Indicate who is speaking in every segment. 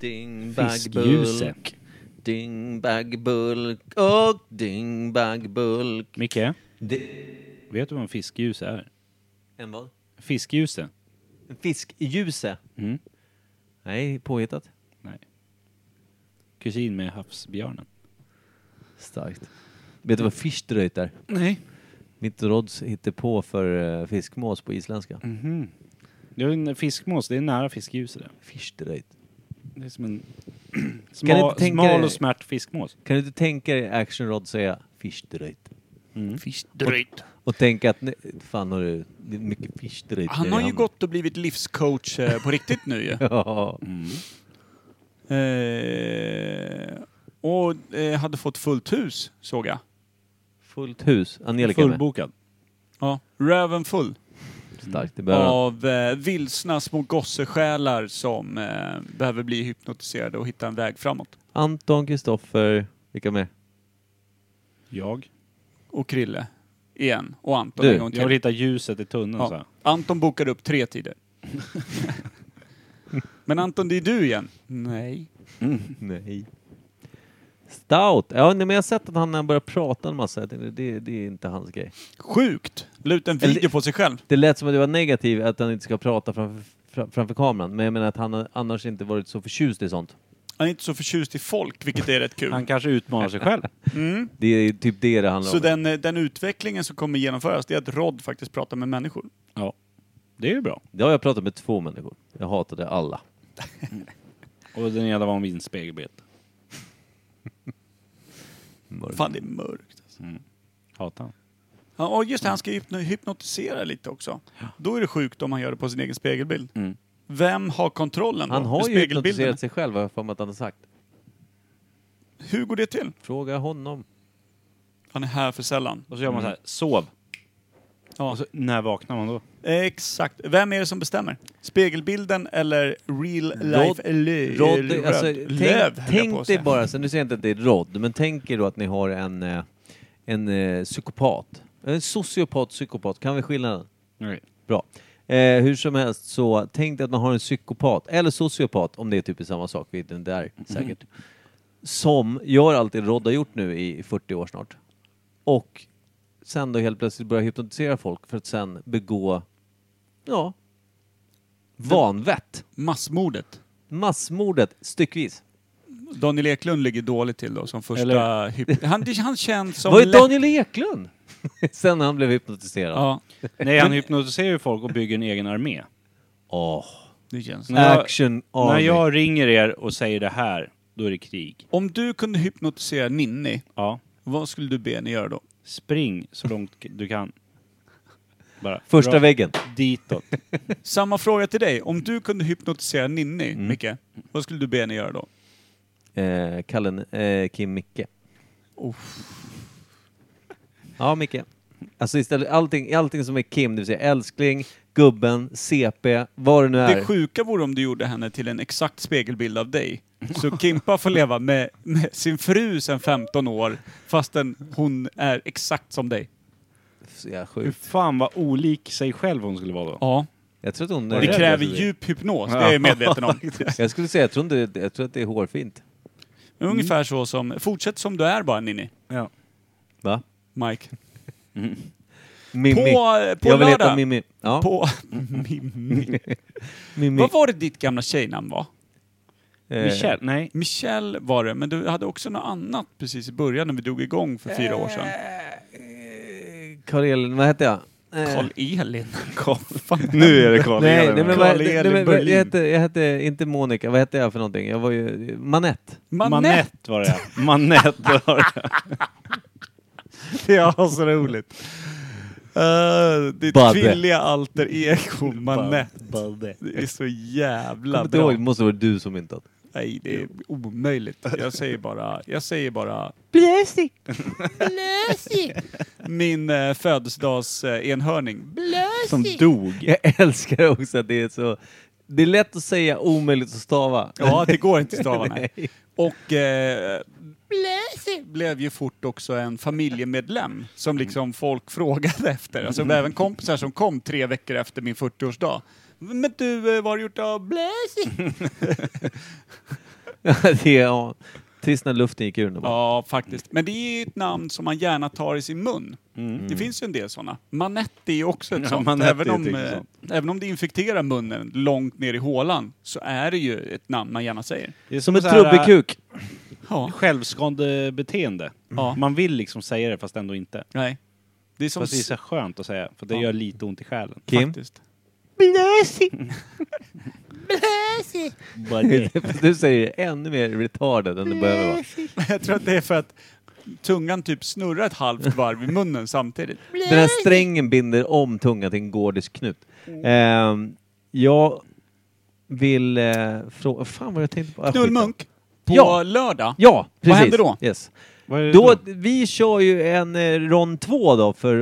Speaker 1: Fiskljuse.
Speaker 2: Dyngbaggbulk. Dyngbaggbulk och dyngbaggbulk.
Speaker 1: Micke,
Speaker 2: Det-
Speaker 1: vet du vad en fiskljus är?
Speaker 2: En vad?
Speaker 1: Fiskljuse?
Speaker 2: En fiskljuse?
Speaker 1: Mm.
Speaker 2: Nej, påhittat.
Speaker 1: Nej. Kusin med havsbjörnen?
Speaker 2: Starkt. Vet du vad fischdröjt är?
Speaker 1: Nej.
Speaker 2: Mitt Rods hittar på för eh, fiskmås på isländska.
Speaker 1: Mm. Mhm. Det är en fiskmås, det är nära fiskljuset. där.
Speaker 2: Fischdröjt.
Speaker 1: Det är som en
Speaker 2: Kan du
Speaker 1: smal,
Speaker 2: inte tänka
Speaker 1: smal
Speaker 2: dig-
Speaker 1: och smärt fiskmås.
Speaker 2: Kan du inte tänka dig Action Rod säga fischdröjt?
Speaker 1: Mm.
Speaker 3: Fiskdröjt.
Speaker 2: Och tänka att, nej, fan har du, det är mycket fischdröjt
Speaker 3: Han
Speaker 2: i
Speaker 3: har ju
Speaker 2: handen.
Speaker 3: gått och blivit livscoach eh, på riktigt nu ju.
Speaker 2: Ja.
Speaker 1: Mm.
Speaker 3: Eh, och eh, hade fått fullt hus, såg jag.
Speaker 2: Fullt hus. Angelica är med.
Speaker 1: Fullbokad.
Speaker 3: Ja. Röven full
Speaker 2: Starkt, det behöver han.
Speaker 3: av eh, vilsna små gossesjälar som eh, behöver bli hypnotiserade och hitta en väg framåt.
Speaker 2: Anton, Kristoffer, vilka mer?
Speaker 1: Jag.
Speaker 3: Och Krille, igen. Och Anton
Speaker 2: Du,
Speaker 3: en gång
Speaker 1: Jag vill hitta
Speaker 3: till.
Speaker 1: ljuset i tunneln så
Speaker 3: Ja.
Speaker 1: här.
Speaker 3: Anton bokade upp tre tider. Men Anton, det är du igen. Nej.
Speaker 2: Nej. Stout! Ja, nej, men jag har sett att han har börjat prata en massa. Jag tänkte, Det, det är inte hans grej.
Speaker 3: Sjukt! La ut en
Speaker 2: Eller-
Speaker 3: video på sig själv.
Speaker 2: Det lät som att du var negativ, att han inte ska prata framför, fra- framför kameran. Men jag menar att han har annars inte varit så förtjust i sånt.
Speaker 3: Han är inte så förtjust i folk, vilket är rätt kul. Mm.
Speaker 1: Han kanske utmanar sig själv.
Speaker 2: Det är typ det det handlar
Speaker 3: Så
Speaker 2: om.
Speaker 3: den, eh, den utvecklingen som kommer genomföras, det är att Rod faktiskt pratar med människor.
Speaker 1: Ja. Det är ju bra.
Speaker 2: Det har jag pratat med två människor. Jag hatade alla.
Speaker 1: Och den ena var min spegelbild.
Speaker 3: Fan, det är mörkt.
Speaker 1: Hatar han.
Speaker 3: Ja, och just det, han ska hypno- hypnotisera lite också. Då är det sjukt om han gör det på sin egen spegelbild.
Speaker 1: Mm.
Speaker 3: Vem har kontrollen då?
Speaker 2: Han har
Speaker 3: för
Speaker 2: ju
Speaker 3: spegelbilden?
Speaker 2: hypnotiserat sig själv, har jag för mig att han har sagt.
Speaker 3: Hur går det till?
Speaker 2: Fråga honom.
Speaker 3: Han är här för sällan.
Speaker 1: Och så gör man så här, sov.
Speaker 3: Ja.
Speaker 1: Mm. Och så, när vaknar man då?
Speaker 3: Exakt. Vem är det som bestämmer? Spegelbilden eller real life lö-
Speaker 2: Rod,
Speaker 3: röd?
Speaker 2: alltså,
Speaker 3: Löv,
Speaker 2: tänk
Speaker 3: höll jag på
Speaker 2: tänk
Speaker 3: att säga.
Speaker 2: dig bara, så nu säger jag inte att det är Rod, men tänk er då att ni har en, eh, en eh, psykopat. En sociopat, psykopat, kan vi skillnaden?
Speaker 1: Nej.
Speaker 2: Bra. Eh, hur som helst så tänk dig att man har en psykopat, eller sociopat, om det är typ samma sak, vet inte där
Speaker 1: Mm.
Speaker 2: säkert. Som gör allt det Rod har gjort nu i 40 år snart. Och sen då helt plötsligt börjar hypnotisera folk för att sen begå, ja, vanvett.
Speaker 3: Massmordet.
Speaker 2: Massmordet styckvis.
Speaker 3: Daniel Eklund ligger dåligt till då som första
Speaker 1: Eller-
Speaker 3: hyp- han, det- han känns som...
Speaker 2: Var är
Speaker 3: lätt-
Speaker 2: Daniel Eklund? Sen han blev hypnotiserad. Åh.
Speaker 3: Ja,
Speaker 1: Nej, han hypnotiserar ju folk och bygger en egen armé.
Speaker 3: det känns. Eh,
Speaker 1: Nej. När jag-
Speaker 2: Action Army.
Speaker 1: När jag ringer er och säger det här, då är det krig.
Speaker 3: Om du kunde hypnotisera Ninni,
Speaker 1: Ja.
Speaker 3: vad skulle du be henne göra då?
Speaker 1: Spring så långt du kan. Bara.
Speaker 2: Första
Speaker 1: Bra.
Speaker 2: väggen.
Speaker 1: Ditåt.
Speaker 3: Samma fråga till dig. Om du kunde hypnotisera Ninni, Micke, vad skulle du be henne göra då?
Speaker 2: Eh, Kallen, eh, Kim Micke. Ja, Micke. Alltså istället, allting, allting som är Kim, det vill säga älskling, gubben, CP, vad det nu är.
Speaker 3: Det sjuka vore om du gjorde henne till en exakt spegelbild av dig. Så Kimpa får leva med, med sin fru sedan 15 år, fastän hon är exakt som dig.
Speaker 2: Så jävla
Speaker 1: Hur
Speaker 2: sjukt.
Speaker 1: fan vad olik sig själv hon skulle vara då.
Speaker 3: Ja.
Speaker 2: Jag tror att hon... eh,
Speaker 3: Det kräver djup hypnos, det är jag medveten om.
Speaker 2: Jag skulle säga, jag tror, inte, jag tror att det är hårfint.
Speaker 3: Ungefär så som... Fortsätt som du är bara, Ninni.
Speaker 1: Ja.
Speaker 2: Va?
Speaker 3: Mike.
Speaker 2: Mimmi.
Speaker 3: På, eh, på
Speaker 2: jag vill heta
Speaker 3: lördag.
Speaker 2: Mimmi. Ja,
Speaker 3: På... Mimmi.
Speaker 2: Mimmi.
Speaker 3: Vad var det ditt gamla tjejnamn var?
Speaker 2: Eh,
Speaker 1: Michelle, nej.
Speaker 3: Michelle var det, men du hade också något annat precis i början när vi drog igång för fyra år sedan.
Speaker 2: Karl-Elin, eh, vad hette jag? Eh,
Speaker 3: Karl-Elin.
Speaker 1: Nu är det Karl
Speaker 2: Nej, nej, men, vad,
Speaker 3: Karl
Speaker 2: nej,
Speaker 3: Elin
Speaker 2: men, vad- jag,
Speaker 3: Berlin.
Speaker 2: hette, jag hette inte Monica, vad hette jag för någonting? Jag var ju Manette.
Speaker 3: Manette.
Speaker 1: Manette var det ja. Manette var det
Speaker 3: Ja, så roligt. Uh, ditt
Speaker 2: Badde.
Speaker 3: kvinnliga alter ego Manette.
Speaker 1: Balde.
Speaker 3: Det är så jävla
Speaker 2: Kommer inte ihåg,
Speaker 3: bra.
Speaker 2: det måste vara du som myntat.
Speaker 3: Nej, det är omöjligt. Jag säger bara... Jag säger bara...
Speaker 4: Blösig!
Speaker 3: Min eh, födelsedags eh, enhörning.
Speaker 1: Som dog.
Speaker 2: Jag älskar också att det är så... Det är lätt att säga, omöjligt att stava.
Speaker 3: Ja, det går inte att stava nej. Och eh, blev ju fort också en familjemedlem
Speaker 1: Mm.
Speaker 3: som liksom folk frågade efter. Alltså det var även kompisar som kom tre veckor efter min 40-årsdag. Men du, eh, vad har du gjort av Blasi?
Speaker 2: det är, ja, trist när luften gick ur den bara.
Speaker 3: Ja, faktiskt. Men det är ju ett namn som man gärna tar i sin mun. Det finns ju en del sådana. Manette är ju också ett
Speaker 1: Mm. Ja,
Speaker 3: sånt.
Speaker 1: Manette
Speaker 3: även,
Speaker 1: är
Speaker 3: om,
Speaker 1: ett
Speaker 3: eh,
Speaker 1: sånt.
Speaker 3: även om det infekterar munnen långt ner i hålan så är det ju ett namn man gärna säger.
Speaker 1: Det är
Speaker 2: Som ett
Speaker 1: så här, äh,
Speaker 2: trubbekuk.
Speaker 3: Ja.
Speaker 1: Självskadebeteende.
Speaker 3: Ja.
Speaker 1: Man vill liksom säga det fast ändå inte.
Speaker 3: Nej. Det är som...
Speaker 1: Fast det är så här skönt att säga, för det
Speaker 3: Ja.
Speaker 1: gör lite ont i själen.
Speaker 2: Kim?
Speaker 3: Faktiskt.
Speaker 2: du säger det ännu mer retarded än du behöver vara.
Speaker 3: Jag tror att det är för att tungan typ snurrar ett halvt varv i munnen samtidigt.
Speaker 2: Den här strängen binder om tungan till en gordisk knut. Ehm, jag vill eh, fråga... Fan vad jag tänkte på. Ah, skitsamma.
Speaker 3: Knullmunk på
Speaker 2: Ja.
Speaker 3: lördag.
Speaker 2: Ja, precis.
Speaker 3: händer då?
Speaker 2: Yes.
Speaker 1: Vad är det
Speaker 2: Då, vi kör ju en eh, rond två då för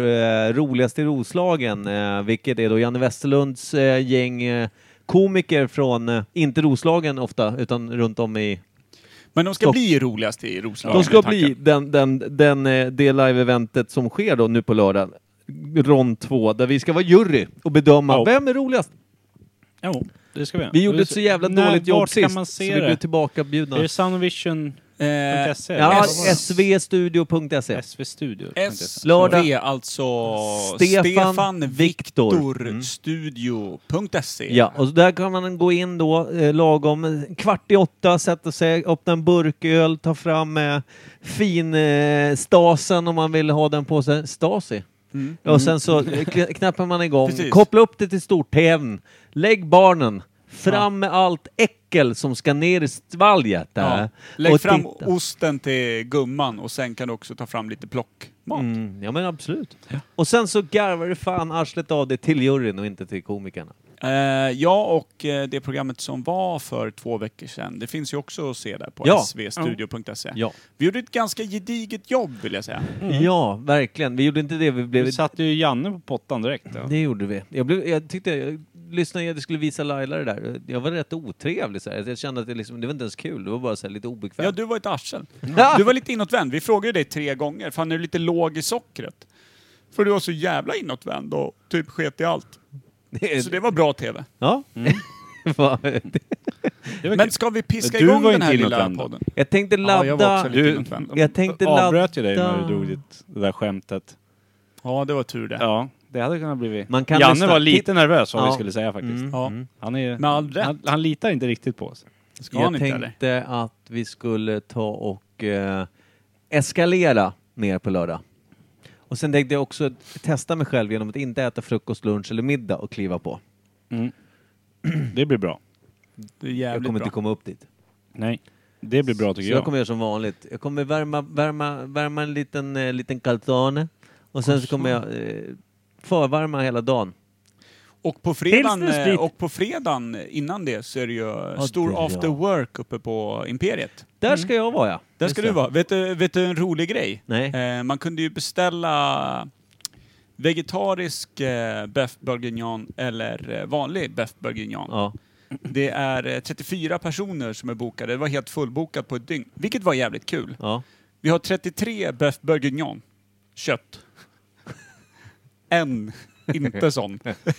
Speaker 2: eh, roligaste Roslagen, eh, vilket är då Janne Westerlunds eh, gäng eh, komiker från, eh, inte Roslagen ofta, utan runt om i...
Speaker 3: Men de ska
Speaker 2: Stopp.
Speaker 3: bli roligast i Roslagen.
Speaker 2: De ska
Speaker 3: är tanken.
Speaker 2: bli den, den, den, eh, det live-eventet som sker då nu på lördag, rond två, där vi ska vara jury och bedöma
Speaker 1: Ja.
Speaker 2: vem är roligast.
Speaker 1: Jo, det ska vi göra.
Speaker 2: Vi gjorde ett så jävla
Speaker 1: När-
Speaker 2: dåligt jobb
Speaker 1: vart kan
Speaker 2: sist,
Speaker 1: man
Speaker 2: så
Speaker 1: se
Speaker 2: vi
Speaker 1: det?
Speaker 2: blev tillbakabjudna.
Speaker 1: Är det soundvision.se?
Speaker 3: Eh,
Speaker 2: Ja,
Speaker 3: S-
Speaker 2: svstudio.se.
Speaker 1: svstudio.
Speaker 3: S
Speaker 2: Lördag.
Speaker 3: V alltså
Speaker 2: Stefan Viktor. Mm.
Speaker 3: StefanVictorStudio.se
Speaker 2: Ja, och så där kan man gå in då eh, lagom kvart i åtta, sätta sig, öppna en burköl, ta fram eh, fin eh, stasen om man vill ha den på sig. Stasi?
Speaker 3: Mm.
Speaker 2: Och sen så eh, kn- knappar man igång,
Speaker 3: Precis.
Speaker 2: koppla upp det till stortävn, lägg barnen, fram med allt äckel som ska ner i svalget. där.
Speaker 3: Ja. Lägg
Speaker 2: Och
Speaker 3: fram
Speaker 2: titta.
Speaker 3: osten till gumman och sen kan du också ta fram lite plockmat.
Speaker 2: Mm, ja men absolut. Och sen så garvar du fan arslet av det till juryn och inte till komikerna.
Speaker 3: Eh, ja, och eh, det programmet som var för två veckor sedan, det finns ju också att se där på
Speaker 2: Ja.
Speaker 3: svstudio.se.
Speaker 2: Ja,
Speaker 3: Vi gjorde ett ganska gediget jobb vill jag säga.
Speaker 2: Mm. ja verkligen. Vi gjorde inte det, vi blev
Speaker 1: Vi satte ju Janne på pottan direkt. Ja.
Speaker 2: Det gjorde vi. Jag, blev, jag tyckte, jag lyssnade, jag skulle visa Laila det där. Jag var rätt otrevlig så här. Jag kände att det, liksom, det var inte ens kul, det var bara så här, lite obekvämt.
Speaker 3: Ja, du var ett arsel. Du var lite inåtvänd. Vi frågade dig tre gånger, fan är du lite låg i sockret? För du var så jävla inåtvänd och typ sket i allt.
Speaker 2: Eh,
Speaker 3: Så det Mm. var bra TV.
Speaker 2: Ja. Va?
Speaker 1: Det var
Speaker 3: Men
Speaker 1: kul.
Speaker 3: ska vi piska
Speaker 1: Du
Speaker 3: igång
Speaker 1: var
Speaker 3: den här
Speaker 1: inte
Speaker 3: lilla
Speaker 1: inåtvänd då.
Speaker 3: podden?
Speaker 2: jag tänkte ladda...
Speaker 3: Ja, jag var också lite
Speaker 1: Du-
Speaker 3: inåtvänd.
Speaker 2: jag tänkte ladda...
Speaker 1: avbröt ju dig när du drog ditt, det där skämtet.
Speaker 3: Ja, det var tur det.
Speaker 1: Ja, det hade kunnat blivit...
Speaker 2: Man kan
Speaker 1: Janne
Speaker 2: nästan-
Speaker 1: var lite nervös vad
Speaker 2: Ja.
Speaker 1: vi skulle säga faktiskt.
Speaker 2: Mm.
Speaker 3: Ja.
Speaker 1: Han, är,
Speaker 3: Med all rätt.
Speaker 1: han, han litar inte riktigt på oss.
Speaker 3: Ska han
Speaker 2: Jag
Speaker 3: inte eller?
Speaker 2: tänkte att vi skulle ta och eh, eskalera mer på lördag. Och sen tänkte jag också testa mig själv genom att inte äta frukost, lunch eller middag och kliva på.
Speaker 1: Det blir bra.
Speaker 3: Det är
Speaker 2: Jag
Speaker 3: jävligt
Speaker 2: kommer
Speaker 3: bra.
Speaker 2: inte komma upp dit.
Speaker 1: Nej, det blir bra tycker
Speaker 2: Så
Speaker 1: jag.
Speaker 2: jag kommer göra som vanligt. Jag kommer värma, värma, värma en liten, eh, liten calzone och sen så kommer jag eh, förvarma hela dagen.
Speaker 3: Och på, fredagen,
Speaker 1: Pilsner Street.
Speaker 3: eh, och på fredagen innan det så är det ju
Speaker 2: det
Speaker 3: stor
Speaker 2: är
Speaker 3: after
Speaker 2: jag.
Speaker 3: work uppe på Imperiet.
Speaker 2: Där ska jag vara ja.
Speaker 3: Mm. Där
Speaker 2: Just
Speaker 3: ska
Speaker 2: det.
Speaker 3: du vara. Vet du, vet du en rolig grej?
Speaker 2: Nej.
Speaker 3: Eh, man kunde ju beställa vegetarisk eh, beef bourguignon eller eh, vanlig beef bourguignon.
Speaker 2: Ja.
Speaker 3: Det är eh, 34 personer som är bokade. Det var helt fullbokat på ett dygn, vilket var jävligt kul.
Speaker 2: ja.
Speaker 3: Vi har 33 beef bourguignon, kött. en inte sån.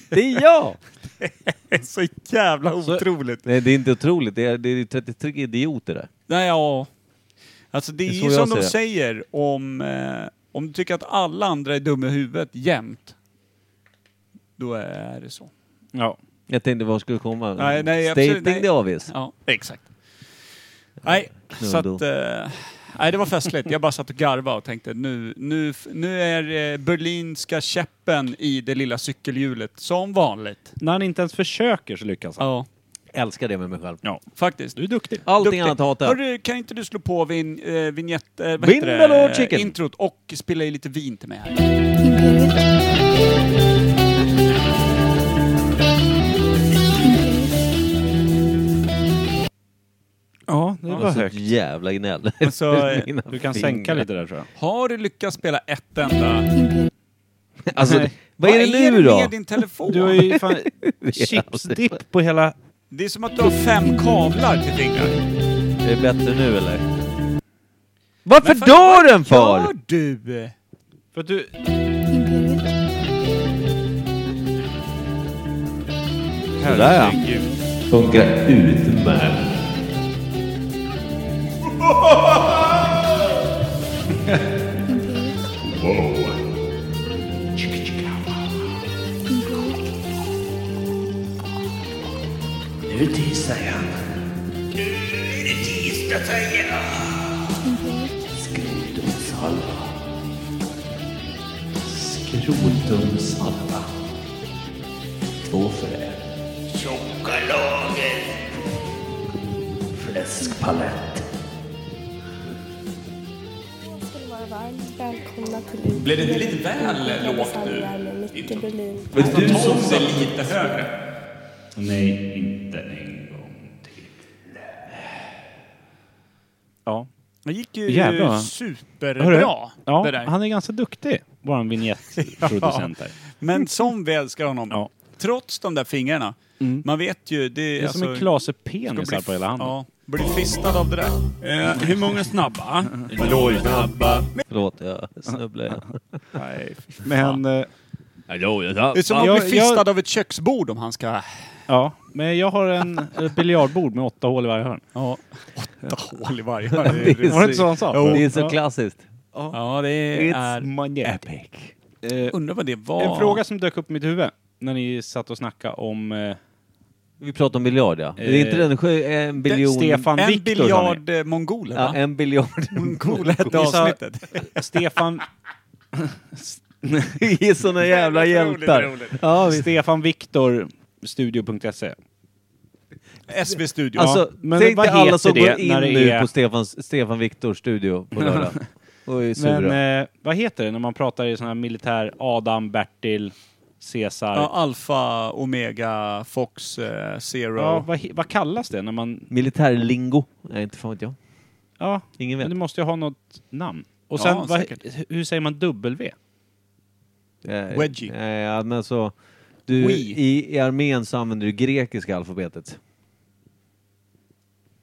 Speaker 2: Det är jag!
Speaker 3: Det är så jävla
Speaker 2: Så-
Speaker 3: otroligt.
Speaker 2: Nej det är inte otroligt, det är, det är 33 idioter där.
Speaker 3: Nej, ja. Alltså det är
Speaker 2: Det är
Speaker 3: ju
Speaker 2: så jag
Speaker 3: som de
Speaker 2: ser
Speaker 3: säger om, eh, om du tycker att alla andra är dumma i huvudet jämt. Då är det så.
Speaker 1: Ja.
Speaker 2: Jag tänkte var skulle du komma?
Speaker 3: Nej, nej,
Speaker 2: Stating
Speaker 3: absolut, nej.
Speaker 2: the obvious.
Speaker 3: Ja, exakt. Nej, så att... Eh, nej, det var festligt. Jag bara satt och garvade och tänkte nu, nu, nu är eh, berlinska käppen i det lilla cykelhjulet som vanligt.
Speaker 1: När han inte ens försöker så lyckas han.
Speaker 3: Ja,
Speaker 2: Älskar det med mig själv.
Speaker 3: faktiskt.
Speaker 1: Du är duktig.
Speaker 2: Allting
Speaker 3: Duktig.
Speaker 2: annat hatar jag.
Speaker 3: Hörru, kan inte du slå på vin, eh, vignett... Eh, vad heter det?
Speaker 2: Vindaloo chicken.
Speaker 3: Introt och spela i lite vin till mig här.
Speaker 4: Imperiet.
Speaker 1: Ja, det
Speaker 2: Det var så jävla gnäll.
Speaker 3: Men så, eh,
Speaker 2: Mina
Speaker 1: Du kan
Speaker 2: fingrar.
Speaker 1: sänka lite där tror jag.
Speaker 3: Har du lyckats spela ett enda?
Speaker 4: Imperiet.
Speaker 2: Alltså,
Speaker 1: Nej.
Speaker 2: vad är det nu
Speaker 3: med
Speaker 2: då?
Speaker 3: din telefon?
Speaker 1: Du har ju fan chipsdipp på hela...
Speaker 3: Det är som att du har fem kablar till fingrar.
Speaker 2: Är det bättre nu eller? Varför
Speaker 3: fan,
Speaker 2: dör den för?
Speaker 3: Gör du?
Speaker 1: För att du...
Speaker 4: Imperiet.
Speaker 2: Sådär ja. Funkar utmärkt.
Speaker 4: Imperial. Imperial.
Speaker 5: Nu tisar jag. Nu tisar jag.
Speaker 4: Imperial.
Speaker 5: Skrotumsalva. Skrotumsalva. Två för en. Tjocka lager. Fläskpalett.
Speaker 6: ska ni vara varmt välkomna till
Speaker 3: Blev det inte lite väl lågt nu?
Speaker 6: Micke Berlin.
Speaker 3: Men du som sa lite högre.
Speaker 5: Nej, inte en gång till.
Speaker 1: Ja.
Speaker 3: Det gick ju
Speaker 1: Jävlar, va?
Speaker 3: superbra
Speaker 1: Hörru,
Speaker 3: det
Speaker 1: ja,
Speaker 3: där.
Speaker 1: han är ganska duktig, våran vignettproducent här.
Speaker 3: Men som vi älskar honom.
Speaker 1: Ja. Mm.
Speaker 3: Trots de där fingrarna. Man vet ju, det, alltså-
Speaker 1: Det är som en klase penis här på hela handen.
Speaker 3: Ja, bli fistad av det där. hur många snabba? Hallå snabba.
Speaker 2: Förlåt, jag snubblade igen.
Speaker 3: Nej,
Speaker 1: Men, eh,
Speaker 3: Det är som att
Speaker 1: Jag-
Speaker 3: bli fistad av ett köksbord om han ska...
Speaker 1: ja. Men jag har en ett biljardbord med åtta hål i varje hörn.
Speaker 3: Ja. Åtta hål i varje hörn.
Speaker 2: Det är
Speaker 1: Var det inte så han sa?
Speaker 3: Jo.
Speaker 2: Det är så klassiskt.
Speaker 3: Ja, det är...
Speaker 1: magnetic. Eh,
Speaker 3: Undrar vad det var.
Speaker 1: en fråga som dök upp i mitt huvud när ni satt och snackade om eh,
Speaker 2: Vi pratar om miljard, ja. Det är inte den sju- en biljon...
Speaker 1: Stefan
Speaker 3: En
Speaker 1: Viktor. sa ni.
Speaker 3: biljard eh, mongoler,
Speaker 2: Ja,
Speaker 3: va?
Speaker 2: en biljard.
Speaker 3: Mongoler hette
Speaker 1: Gissa-
Speaker 3: avsnittet.
Speaker 1: Stefan,
Speaker 2: Vi är såna jävla
Speaker 3: Roligt,
Speaker 2: hjältar.
Speaker 3: roligt.
Speaker 2: Ja, visst.
Speaker 1: Stefan Viktor, studio.se.
Speaker 3: SV Studio.
Speaker 2: Alltså,
Speaker 1: men
Speaker 2: tänk
Speaker 1: vad
Speaker 2: dig alla
Speaker 1: heter
Speaker 2: som
Speaker 1: det
Speaker 2: går in
Speaker 1: när det
Speaker 2: nu
Speaker 1: är-
Speaker 2: på Stefans, Stefan Viktors studio på lördag. Och är sura.
Speaker 1: Men eh, vad heter det när man pratar i sån här militär Adam, Bertil, Caesar?
Speaker 3: ja,
Speaker 1: Ja,
Speaker 3: Alfa, Omega, Fox, eh, Zero.
Speaker 1: vad, he- vad kallas det när man...
Speaker 2: Militärlingo? Nej, inte fan vet jag.
Speaker 1: Ja,
Speaker 2: Ingen
Speaker 1: men
Speaker 2: vet.
Speaker 1: du måste ju ha något namn. Och
Speaker 3: Ja,
Speaker 1: sen, vad,
Speaker 3: säkert.
Speaker 1: hur säger man W?
Speaker 2: Eh,
Speaker 3: Wedgie.
Speaker 2: eh, ja, men alltså, du,
Speaker 3: Oui.
Speaker 2: i, I armén så använder du grekiska alfabetet.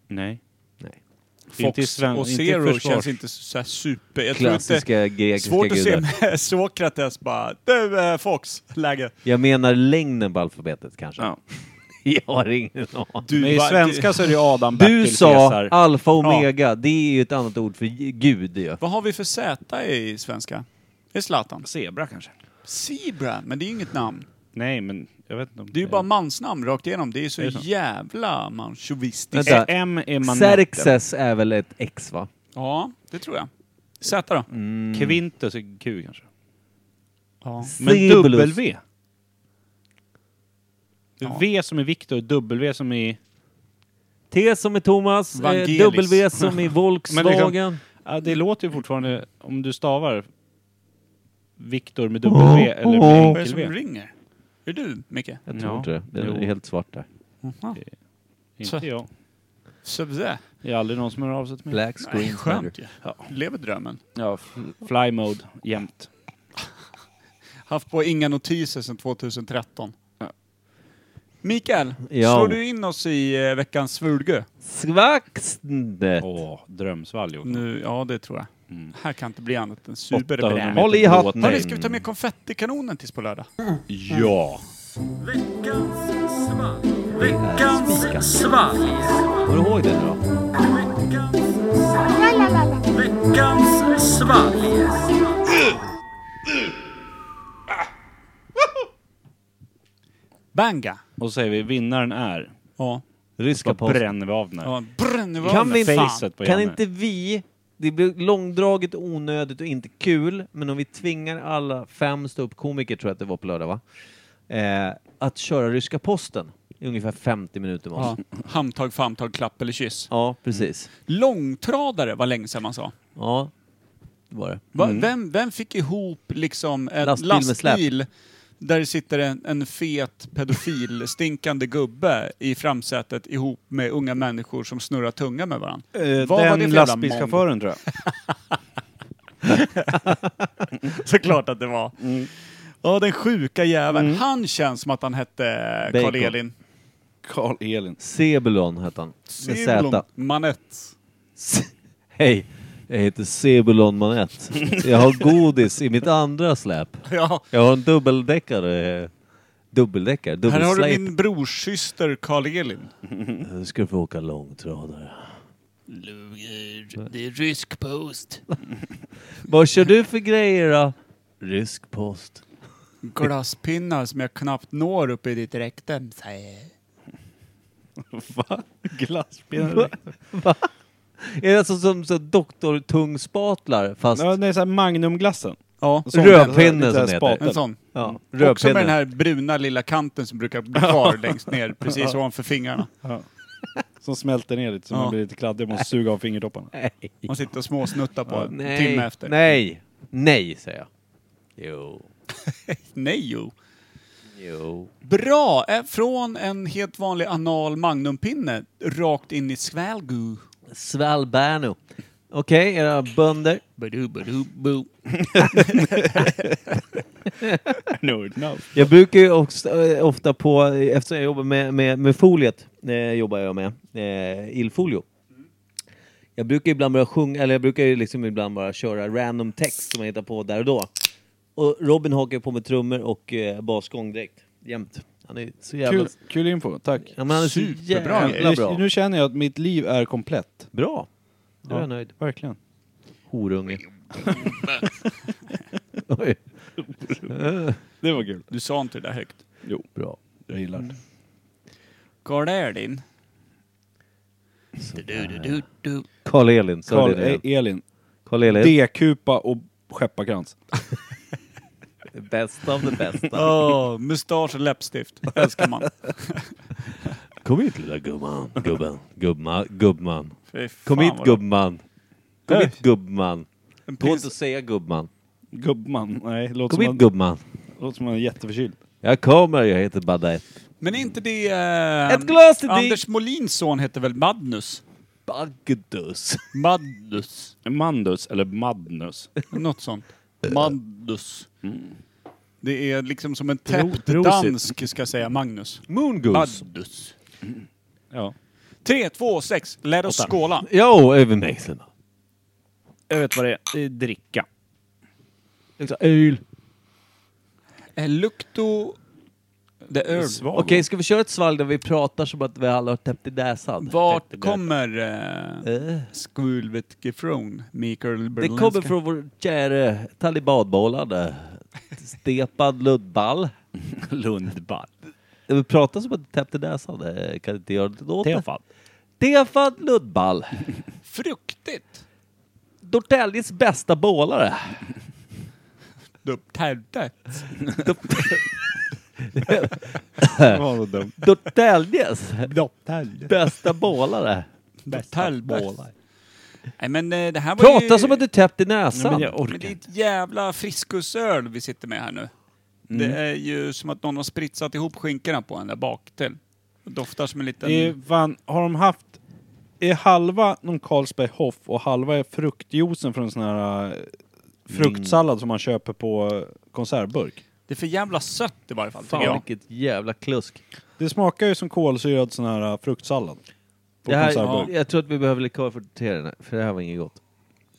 Speaker 1: Nej.
Speaker 2: Nej.
Speaker 3: Fox
Speaker 1: Inte i sven-
Speaker 3: och
Speaker 1: inte i
Speaker 3: Zero
Speaker 1: försvars-
Speaker 3: känns inte så här super... Jag tror inte...
Speaker 2: Klassiska grekiska
Speaker 3: Svårt att se
Speaker 2: gudar.
Speaker 3: med Sokrates bara, du eh, Fox, läge.
Speaker 2: Jag menar längden på alfabetet kanske.
Speaker 1: Ja.
Speaker 2: Jag har ingen aning.
Speaker 3: Du,
Speaker 1: Men i
Speaker 3: va-
Speaker 1: svenska så är det ju Adam, Bertil,
Speaker 2: Du sa
Speaker 1: Caesar.
Speaker 2: alfa och omega, det är ju ett annat ord för g- gud ju.
Speaker 3: Vad har vi för Z i svenska? Det är Zlatan.
Speaker 1: Zebra kanske?
Speaker 3: Zebra, men det är ju inget namn.
Speaker 1: Nej, men jag vet inte om
Speaker 3: Det är ju bara mansnamn rakt igenom. Det är ju så
Speaker 1: Är det så?
Speaker 3: jävla manchovistiskt.
Speaker 2: Vänta.
Speaker 1: Eh, M är manetten.
Speaker 2: Xerxes är väl ett X va?
Speaker 3: Ja, det tror jag. Z då?
Speaker 1: Mm. Kvintus är Q kanske.
Speaker 3: Ja.
Speaker 1: Men
Speaker 2: Cibulus.
Speaker 1: W?
Speaker 3: Ja.
Speaker 1: V som är Viktor, W som är...
Speaker 2: T som är Thomas, eh,
Speaker 3: Vangelis.
Speaker 2: W som är Volkswagen.
Speaker 1: Ja, det låter ju fortfarande, om du stavar Viktor med W eller med
Speaker 3: Vad är det
Speaker 1: enkel
Speaker 3: som
Speaker 1: V.
Speaker 3: ringer? Är det du, Micke?
Speaker 2: Jag tror
Speaker 1: Ja.
Speaker 2: inte det. Det är
Speaker 1: Jo.
Speaker 2: helt svart där.
Speaker 1: Inte jag.
Speaker 3: Zebra.
Speaker 1: Det är aldrig någon som hör av sig till mig.
Speaker 2: Black screen
Speaker 3: Skönt ju. Lever drömmen.
Speaker 1: Ja, f- fly mode, jämt.
Speaker 3: Haft på inga notiser sedan 2013. Mikael,
Speaker 2: Ja.
Speaker 3: slår du in oss i eh, veckans svulgö?
Speaker 2: Svaxndet.
Speaker 1: Åh, drömsvall gjorde han.
Speaker 3: Nu, ja det tror jag.
Speaker 2: Mm.
Speaker 3: Här kan inte bli annat än
Speaker 1: 800 meter
Speaker 3: superbrän.
Speaker 2: Håll i
Speaker 1: blå
Speaker 2: hatten.
Speaker 1: tejp.
Speaker 3: Hörni, ska vi ta med konfettikanonen tills på lördag?
Speaker 1: Ja!
Speaker 2: Kommer du ihåg det nu då?
Speaker 3: Banga!
Speaker 1: Och så säger vi, vinnaren är...
Speaker 3: Ja.
Speaker 2: Ryska
Speaker 1: Då
Speaker 2: posten.
Speaker 1: bränner vi av den här.
Speaker 3: ja. Brr, nu var
Speaker 2: Kan vi inte,
Speaker 1: Facet på
Speaker 2: kan
Speaker 1: Janne.
Speaker 2: inte vi, det blir långdraget, onödigt och inte kul, men om vi tvingar alla fem ståuppkomiker, tror jag att det var på lördag va? Eh, att köra ryska posten i ungefär 50 minuter med oss.
Speaker 3: Ja. Handtag, famtag, klapp eller kyss.
Speaker 2: Ja, precis.
Speaker 1: Mm.
Speaker 3: Långtradare var länge sedan man sa.
Speaker 2: Ja, det var det.
Speaker 3: Va? Vem, vem fick ihop liksom en
Speaker 2: Mm. Lastbil
Speaker 3: lastbil,
Speaker 2: med släp.
Speaker 3: där det sitter en, en fet pedofil stinkande gubbe i framsätet ihop med unga människor som snurrar tunga med varandra?
Speaker 1: Eh,
Speaker 3: Vad var det
Speaker 1: den
Speaker 3: för jävla
Speaker 1: lastbilschauffören tror jag.
Speaker 3: Såklart att det var.
Speaker 2: Mm.
Speaker 3: Ja, den sjuka jäveln. Han känns som att han hette
Speaker 2: Bacon.
Speaker 3: Karl-Elin.
Speaker 1: Karl Elin.
Speaker 2: Sebulon hette han. Med Z.
Speaker 3: Manett.
Speaker 2: Hej, jag heter Sebulon Manett. Jag har godis i mitt andra släp.
Speaker 3: Ja.
Speaker 2: Jag har en dubbeldäckare. eh, Dubbeldäckare?
Speaker 3: Här har du
Speaker 2: Dubbelsläp.
Speaker 3: min brorsyster Karl-Elin.
Speaker 2: Nu ska du få åka långtradare.
Speaker 7: Det är rysk post.
Speaker 2: Vad kör du för grejer då? Rysk post.
Speaker 3: Glasspinnar som jag knappt når upp i ditt räkten.
Speaker 1: Va? Glasspinnar?
Speaker 2: Är det alltså som så doktortungspatlar fast
Speaker 1: Ja, det är såhär Magnumglassen.
Speaker 3: Ja,
Speaker 1: Sån-
Speaker 2: Rödpinne
Speaker 1: lite
Speaker 2: som
Speaker 1: såhär
Speaker 2: det
Speaker 1: spatel.
Speaker 2: heter.
Speaker 3: en sån.
Speaker 2: ja,
Speaker 3: Också med den
Speaker 2: rödpinne?
Speaker 3: här bruna lilla kanten som brukar bli kvar längst ner, precis ovanför fingrarna.
Speaker 1: Som smälter ner lite så
Speaker 3: Ja.
Speaker 1: man blir lite kladdig och måste suga av fingertopparna.
Speaker 2: Nej.
Speaker 3: Man sitter och småsnuttar på en
Speaker 2: Nej.
Speaker 3: timme efter.
Speaker 2: Nej. Nej, säger jag. Jo.
Speaker 3: Nej jo.
Speaker 2: Jo.
Speaker 3: Bra! Eh, Från en helt vanlig anal magnumpinne rakt in i svalgu.
Speaker 2: Svalbano. Okej, era bönder.
Speaker 7: Badu, badu, bu.
Speaker 1: No, no.
Speaker 2: Jag brukar ju också, eh, ofta på, eftersom jag jobbar med, med, med foliet, eh, jobbar jag med, eh, illfolio. Jag brukar ibland bara sjunga, eller jag brukar ju liksom ibland bara köra random text som jag hittar på där och då. Och Robin hakar på med trummor och eh, basgång direkt, jämt. Han är så jävla...
Speaker 1: Kul, kul info, tack.
Speaker 2: Ja, men han är så
Speaker 3: Superbra
Speaker 2: jävla
Speaker 1: Nu-
Speaker 2: bra.
Speaker 1: Nu känner jag att mitt liv är komplett.
Speaker 2: Bra! Då är
Speaker 1: Ja.
Speaker 2: jag nöjd.
Speaker 1: Verkligen.
Speaker 2: Horunge. Oj,
Speaker 1: Det var kul.
Speaker 3: Du sa inte det där högt.
Speaker 2: bra.
Speaker 1: Jag gillar det.
Speaker 3: Karl är din.
Speaker 7: Du, du, du, du, du.
Speaker 2: Karl Elin, sa
Speaker 1: Carl,
Speaker 2: det nu igen.
Speaker 1: eh, Elin.
Speaker 2: Karl Elin.
Speaker 1: D-kupa och skepparkrans.
Speaker 2: Bäst av det bästa.
Speaker 3: Åh, mustasch och läppstift. Älskar man.
Speaker 2: Kom hit lilla gumman. Gubben. Gubma, gubbman.
Speaker 3: Fy fan
Speaker 2: Kom hit
Speaker 3: vad-
Speaker 2: gubbman. Kom hit gubbman.
Speaker 3: En
Speaker 2: Gå
Speaker 3: pins-
Speaker 2: inte och säga gubbman.
Speaker 1: Gubbman. Nej,
Speaker 2: Kom
Speaker 1: låter som,
Speaker 2: hit
Speaker 1: man,
Speaker 2: gubbman.
Speaker 1: låter som man är jätteförkyld.
Speaker 2: Jag kommer, jag heter Badette.
Speaker 3: Men är inte det... eh,
Speaker 2: Ett glas till dig.
Speaker 3: Anders Molins son heter väl Magnus?
Speaker 2: Bagdus.
Speaker 3: Magnus.
Speaker 1: Mandus, eller Madnus.
Speaker 3: Något sånt.
Speaker 2: Eh.
Speaker 3: Magnus.
Speaker 2: Mm.
Speaker 3: Det är liksom som en
Speaker 1: Bro-
Speaker 3: täppt
Speaker 1: brosigt.
Speaker 3: dansk ska säga Magnus.
Speaker 2: Moongoose.
Speaker 3: Magnus.
Speaker 1: Ja.
Speaker 3: Tre, två, sex. Låt oss skåla.
Speaker 2: Jo, över mejseln.
Speaker 1: Jag vet vad det är. Det är dricka. Liksom
Speaker 2: Öl.
Speaker 3: Eh, Lukto... The Earl.
Speaker 1: Svag.
Speaker 2: Okej, ska vi köra ett svalg där vi pratar som att vi alla har täppt i näsan?
Speaker 3: Vart
Speaker 2: Täppt i
Speaker 3: kommer eh,
Speaker 2: näsan. Eh,
Speaker 3: skvulvet ifrån, Mikael
Speaker 2: Det
Speaker 3: Berlinska?
Speaker 2: kommer från vår käre talibanbollade Stepad Lundvall.
Speaker 1: Lundbar.
Speaker 2: Vi pratar som att det täppte näsan. Eh, Kan inte göra det åt det.
Speaker 1: Tefan.
Speaker 2: Stefan Lundvall.
Speaker 3: Fruktigt!
Speaker 2: Norrtäljes bästa bålare.
Speaker 3: Dubbtälte.
Speaker 1: Vad var dumt.
Speaker 2: Norrtäljes
Speaker 1: Doppel.
Speaker 2: bästa bålare.
Speaker 3: Dubbtälbäst. Nej men eh, det här var ju...
Speaker 2: Prata som att du täppt i
Speaker 1: Men
Speaker 2: näsan.
Speaker 1: jag
Speaker 3: Men det
Speaker 1: orkar
Speaker 3: är
Speaker 1: inte.
Speaker 3: ett jävla friskusöl vi sitter med här nu.
Speaker 1: Mm.
Speaker 3: Det är ju som att någon har spritsat ihop skinkorna på en där bak till. Det Doftar som en liten...
Speaker 1: Det är fan, har de haft... Är halva någon Carlsberg Hoff och halva är fruktjuicen från en sån här eh, fruktsallad som man köper på eh, konservburk?
Speaker 3: Det är för jävla sött i varje fall,
Speaker 2: Fan
Speaker 3: tycker jag.
Speaker 2: vilket jävla klusk.
Speaker 1: Det smakar ju som kolsyrad sån här eh, fruktsallad. På
Speaker 2: Det här,
Speaker 1: konservburk.
Speaker 2: jag tror att vi behöver likör för att sortera den här, för det här var inget gott.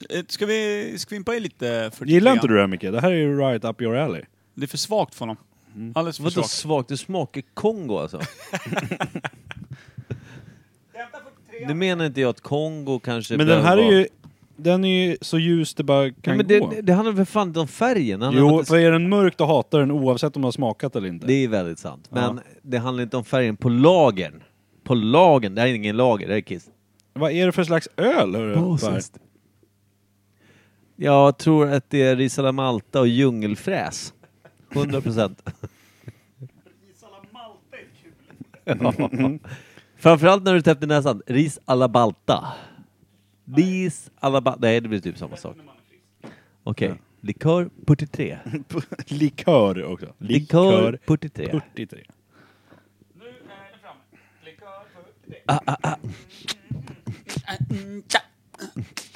Speaker 3: Eh, Ska vi skvimpa i lite 43?
Speaker 1: Gillar inte du det här Micke? Det här är ju right up your alley.
Speaker 3: Det är för svagt för honom.
Speaker 1: Mm.
Speaker 3: Alldeles för
Speaker 2: Vadå
Speaker 3: svagt.
Speaker 2: svagt? Det smakar Kongo alltså. Nu menar inte jag att Kongo kanske
Speaker 1: Men den
Speaker 2: behöver
Speaker 1: här är
Speaker 2: vara-
Speaker 1: ju... Den är ju så ljus det bara
Speaker 2: Nej,
Speaker 1: kan
Speaker 2: men
Speaker 1: gå.
Speaker 2: det, det handlar väl fan inte om färgen? Det handlar om
Speaker 1: Jo,
Speaker 2: att det-
Speaker 1: för är den mörk då hatar den oavsett om du har smakat eller inte.
Speaker 2: Det är väldigt sant. Men det handlar inte om färgen på lagern. På lagen. Det här är ingen lager, det här är Kiss.
Speaker 1: Vad är det för slags öl hörru? Per?
Speaker 2: Jag tror att det är Risala Malta och djungelfräs. 100 procent. Framförallt när du täppte näsan. Ris alla balta. Ris alla balta. Nej, det blir typ samma sak. Okej. Likör 43.
Speaker 1: Likör också.
Speaker 2: Likör 43.
Speaker 1: 43.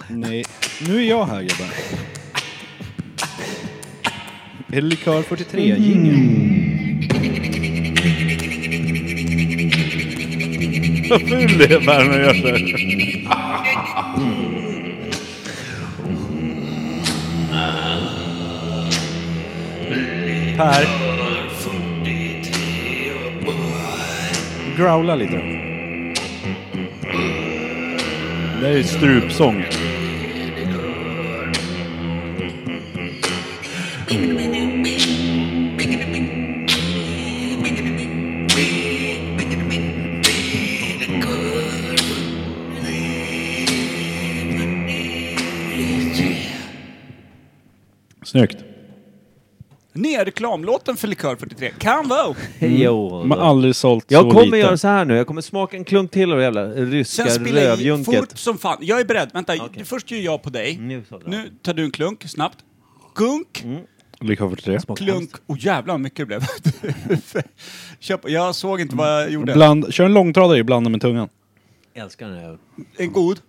Speaker 1: Nej, nu är jag här grabbar. Är det likör 43? Jingel. Vad ful det är Berno gör sig. Per. Growla lite då. Det är ju strupsång. Snyggt.
Speaker 3: Nya reklamlåten för Likör 43. Kan vara.
Speaker 2: Jo,
Speaker 1: De har aldrig sålt Mm. så
Speaker 2: jag kommer
Speaker 1: lite.
Speaker 2: göra så här nu, jag kommer smaka en klunk till av det jävla ryska
Speaker 3: Sen spelar jag i fort
Speaker 2: rövjunket.
Speaker 3: som fan. Jag är beredd. Vänta,
Speaker 2: Okej.
Speaker 3: först gör jag på dig.
Speaker 1: Mm.
Speaker 2: Nu så bra.
Speaker 3: Nu tar du en klunk, snabbt. Gunk,
Speaker 1: Likör 43.
Speaker 3: klunk. Och jävlar vad mycket det blev. Köp, jag såg inte vad jag gjorde.
Speaker 1: Bland, kör en långtradare i, blanda med tungan.
Speaker 2: Jag älskar den här.
Speaker 3: En god.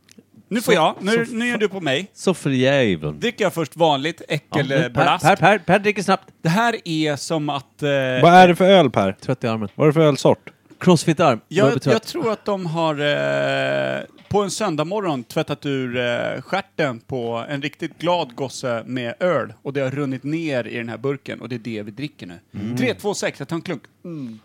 Speaker 3: Nu får jag. Nu,
Speaker 2: så-
Speaker 3: nu gör du på mig.
Speaker 2: Så för jäveln.
Speaker 3: Dricker jag först vanligt
Speaker 2: nu, per,
Speaker 3: äckelblask.
Speaker 2: per, per, per dricker snabbt.
Speaker 3: Det här är som att... Eh,
Speaker 1: Vad är det för öl Per?
Speaker 2: Trött i armen.
Speaker 1: Vad är det för ölsort?
Speaker 2: Crossfit-arm. Börjar
Speaker 3: jag,
Speaker 2: bli trött.
Speaker 3: jag tror att de har eh, på en söndagmorgon tvättat ur eh, stjärten på en riktigt glad gosse med öl. Och det har runnit ner i den här burken och det är det vi dricker nu.
Speaker 2: Mm.
Speaker 3: Tre, två, sex. jag tar en klunk. Mm.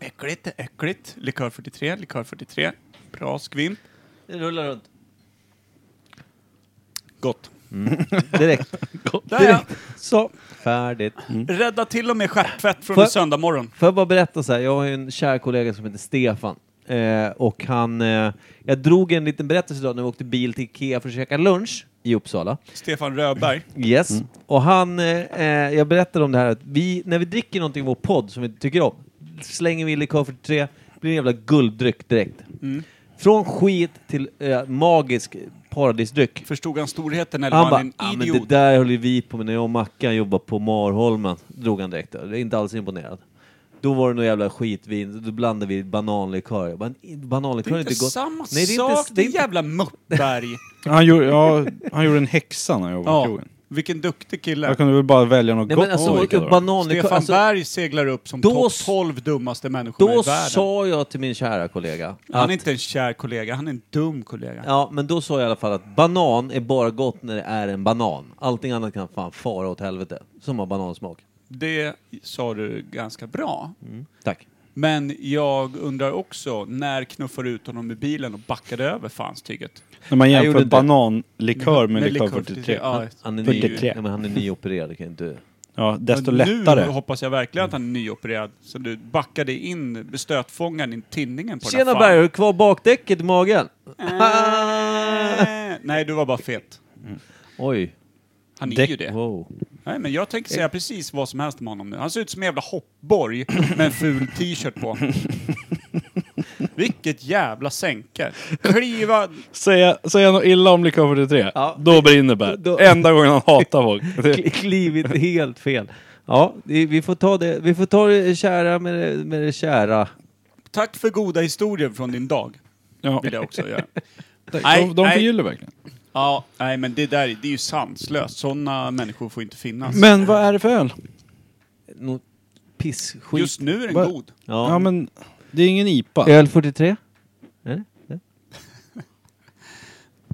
Speaker 3: Äckligt, äckligt. Likör 43, likör 43. Bra skvimp.
Speaker 2: Det rullar runt.
Speaker 3: Gott.
Speaker 2: Direkt.
Speaker 3: Där ja.
Speaker 2: Så. Färdigt.
Speaker 1: Mm.
Speaker 3: Rädda till och med stjärttvätt från
Speaker 2: Får-
Speaker 3: en söndagmorgon.
Speaker 2: Får jag bara berätta så här, jag har ju en kär kollega som heter Stefan. Eh, och han, eh, jag drog en liten berättelse idag när vi åkte bil till Ikea för att käka lunch i Uppsala.
Speaker 3: Stefan Rödberg.
Speaker 2: Yes. Och han, eh, eh, jag berättade om det här att vi, när vi dricker någonting i vår podd som vi tycker om, slänger vi i likör 43, blir en jävla gulddryck direkt.
Speaker 3: Mm.
Speaker 2: Från skit till eh, magisk paradisdryck.
Speaker 3: Förstod han storheten eller
Speaker 2: Han
Speaker 3: var
Speaker 2: bara,
Speaker 3: han
Speaker 2: ah,
Speaker 3: en
Speaker 2: men det
Speaker 3: idiot?
Speaker 2: där höll ju vi på med när jag och Mackan jobbade på Marholmen. Drog han direkt. Jag är inte alls imponerad. Då var det något jävla skitvin, då blandade vi bananlikör. Jag bara, bananlikör
Speaker 3: det är
Speaker 2: är
Speaker 3: inte
Speaker 2: gott.
Speaker 3: samma
Speaker 2: Nej, det är inte-
Speaker 3: sak,
Speaker 2: det är
Speaker 3: din
Speaker 2: inte-
Speaker 3: jävla muppberg.
Speaker 1: Han gjorde, ja, han gjorde en häxa när jag jobbade på
Speaker 3: ja,
Speaker 1: krogen.
Speaker 3: vilken duktig
Speaker 1: Jag
Speaker 3: kille.
Speaker 1: kunde väl bara välja något
Speaker 2: Nej
Speaker 1: gott
Speaker 2: men
Speaker 1: att dricka
Speaker 2: alltså,
Speaker 1: då.
Speaker 2: bananlikör.
Speaker 3: Stefan
Speaker 2: Alltså,
Speaker 3: Berg seglar upp som
Speaker 2: då
Speaker 3: topp
Speaker 2: s-
Speaker 3: 12 dummaste människorna
Speaker 2: då
Speaker 3: i världen.
Speaker 2: sa jag till min kära kollega
Speaker 3: Han
Speaker 2: att
Speaker 3: är inte en kär kollega, han är en dum kollega.
Speaker 2: Ja, men då sa jag i alla fall att banan är bara gott när det är en banan. Allting annat kan fan fara åt helvete, som har banansmak.
Speaker 3: Det sa du ganska bra.
Speaker 2: Tack.
Speaker 3: Men jag undrar också, när knuffar du ut honom ur bilen och backade över fanstyget? liksom
Speaker 1: När man
Speaker 2: Jag gjorde
Speaker 1: jämför
Speaker 2: inte.
Speaker 1: bananlikör med likör 43.
Speaker 3: Ja,
Speaker 2: Han är,
Speaker 1: 43.
Speaker 2: ny, ja, men han är nyopererad, kan inte...
Speaker 1: Ja, desto
Speaker 3: Men Nu
Speaker 1: lättare.
Speaker 3: hoppas jag verkligen att han är nyopererad. Så du backade in stötfångaren i tinningen på den
Speaker 2: Tjena
Speaker 3: här
Speaker 2: Berg, har du kvar bakdäcket i magen?
Speaker 3: Eh. fan. Nej, du var bara fet.
Speaker 2: Oj.
Speaker 3: Han är ju det.
Speaker 2: Wow.
Speaker 3: Nej, men jag tänker
Speaker 1: Eh.
Speaker 3: säga precis vad som helst om honom nu. Han ser ut som en jävla hoppborg med en ful t-shirt på. Vilket jävla sänke. Kliva...
Speaker 1: Säga, säga något illa om likör 43,
Speaker 2: Ja.
Speaker 1: då brinner Bert.
Speaker 2: Då-
Speaker 1: Enda gången han hatar folk.
Speaker 2: Kli- Klivit helt fel. Ja, det- vi får ta det, vi får ta det kära med det, med det kära.
Speaker 3: Tack för goda historier från din dag.
Speaker 1: Ja.
Speaker 3: Vill jag också göra.
Speaker 1: De, de förgyller verkligen.
Speaker 3: Ja, nej men det där det är ju sanslöst. Sådana människor får inte finnas.
Speaker 1: Men vad är det för öl?
Speaker 2: Nå- Pissskit.
Speaker 3: Just nu är den
Speaker 1: Vad-
Speaker 3: god.
Speaker 1: Ja,
Speaker 2: Ja.
Speaker 1: men det är ingen IPA.
Speaker 2: Öl 43? Är det? Ja.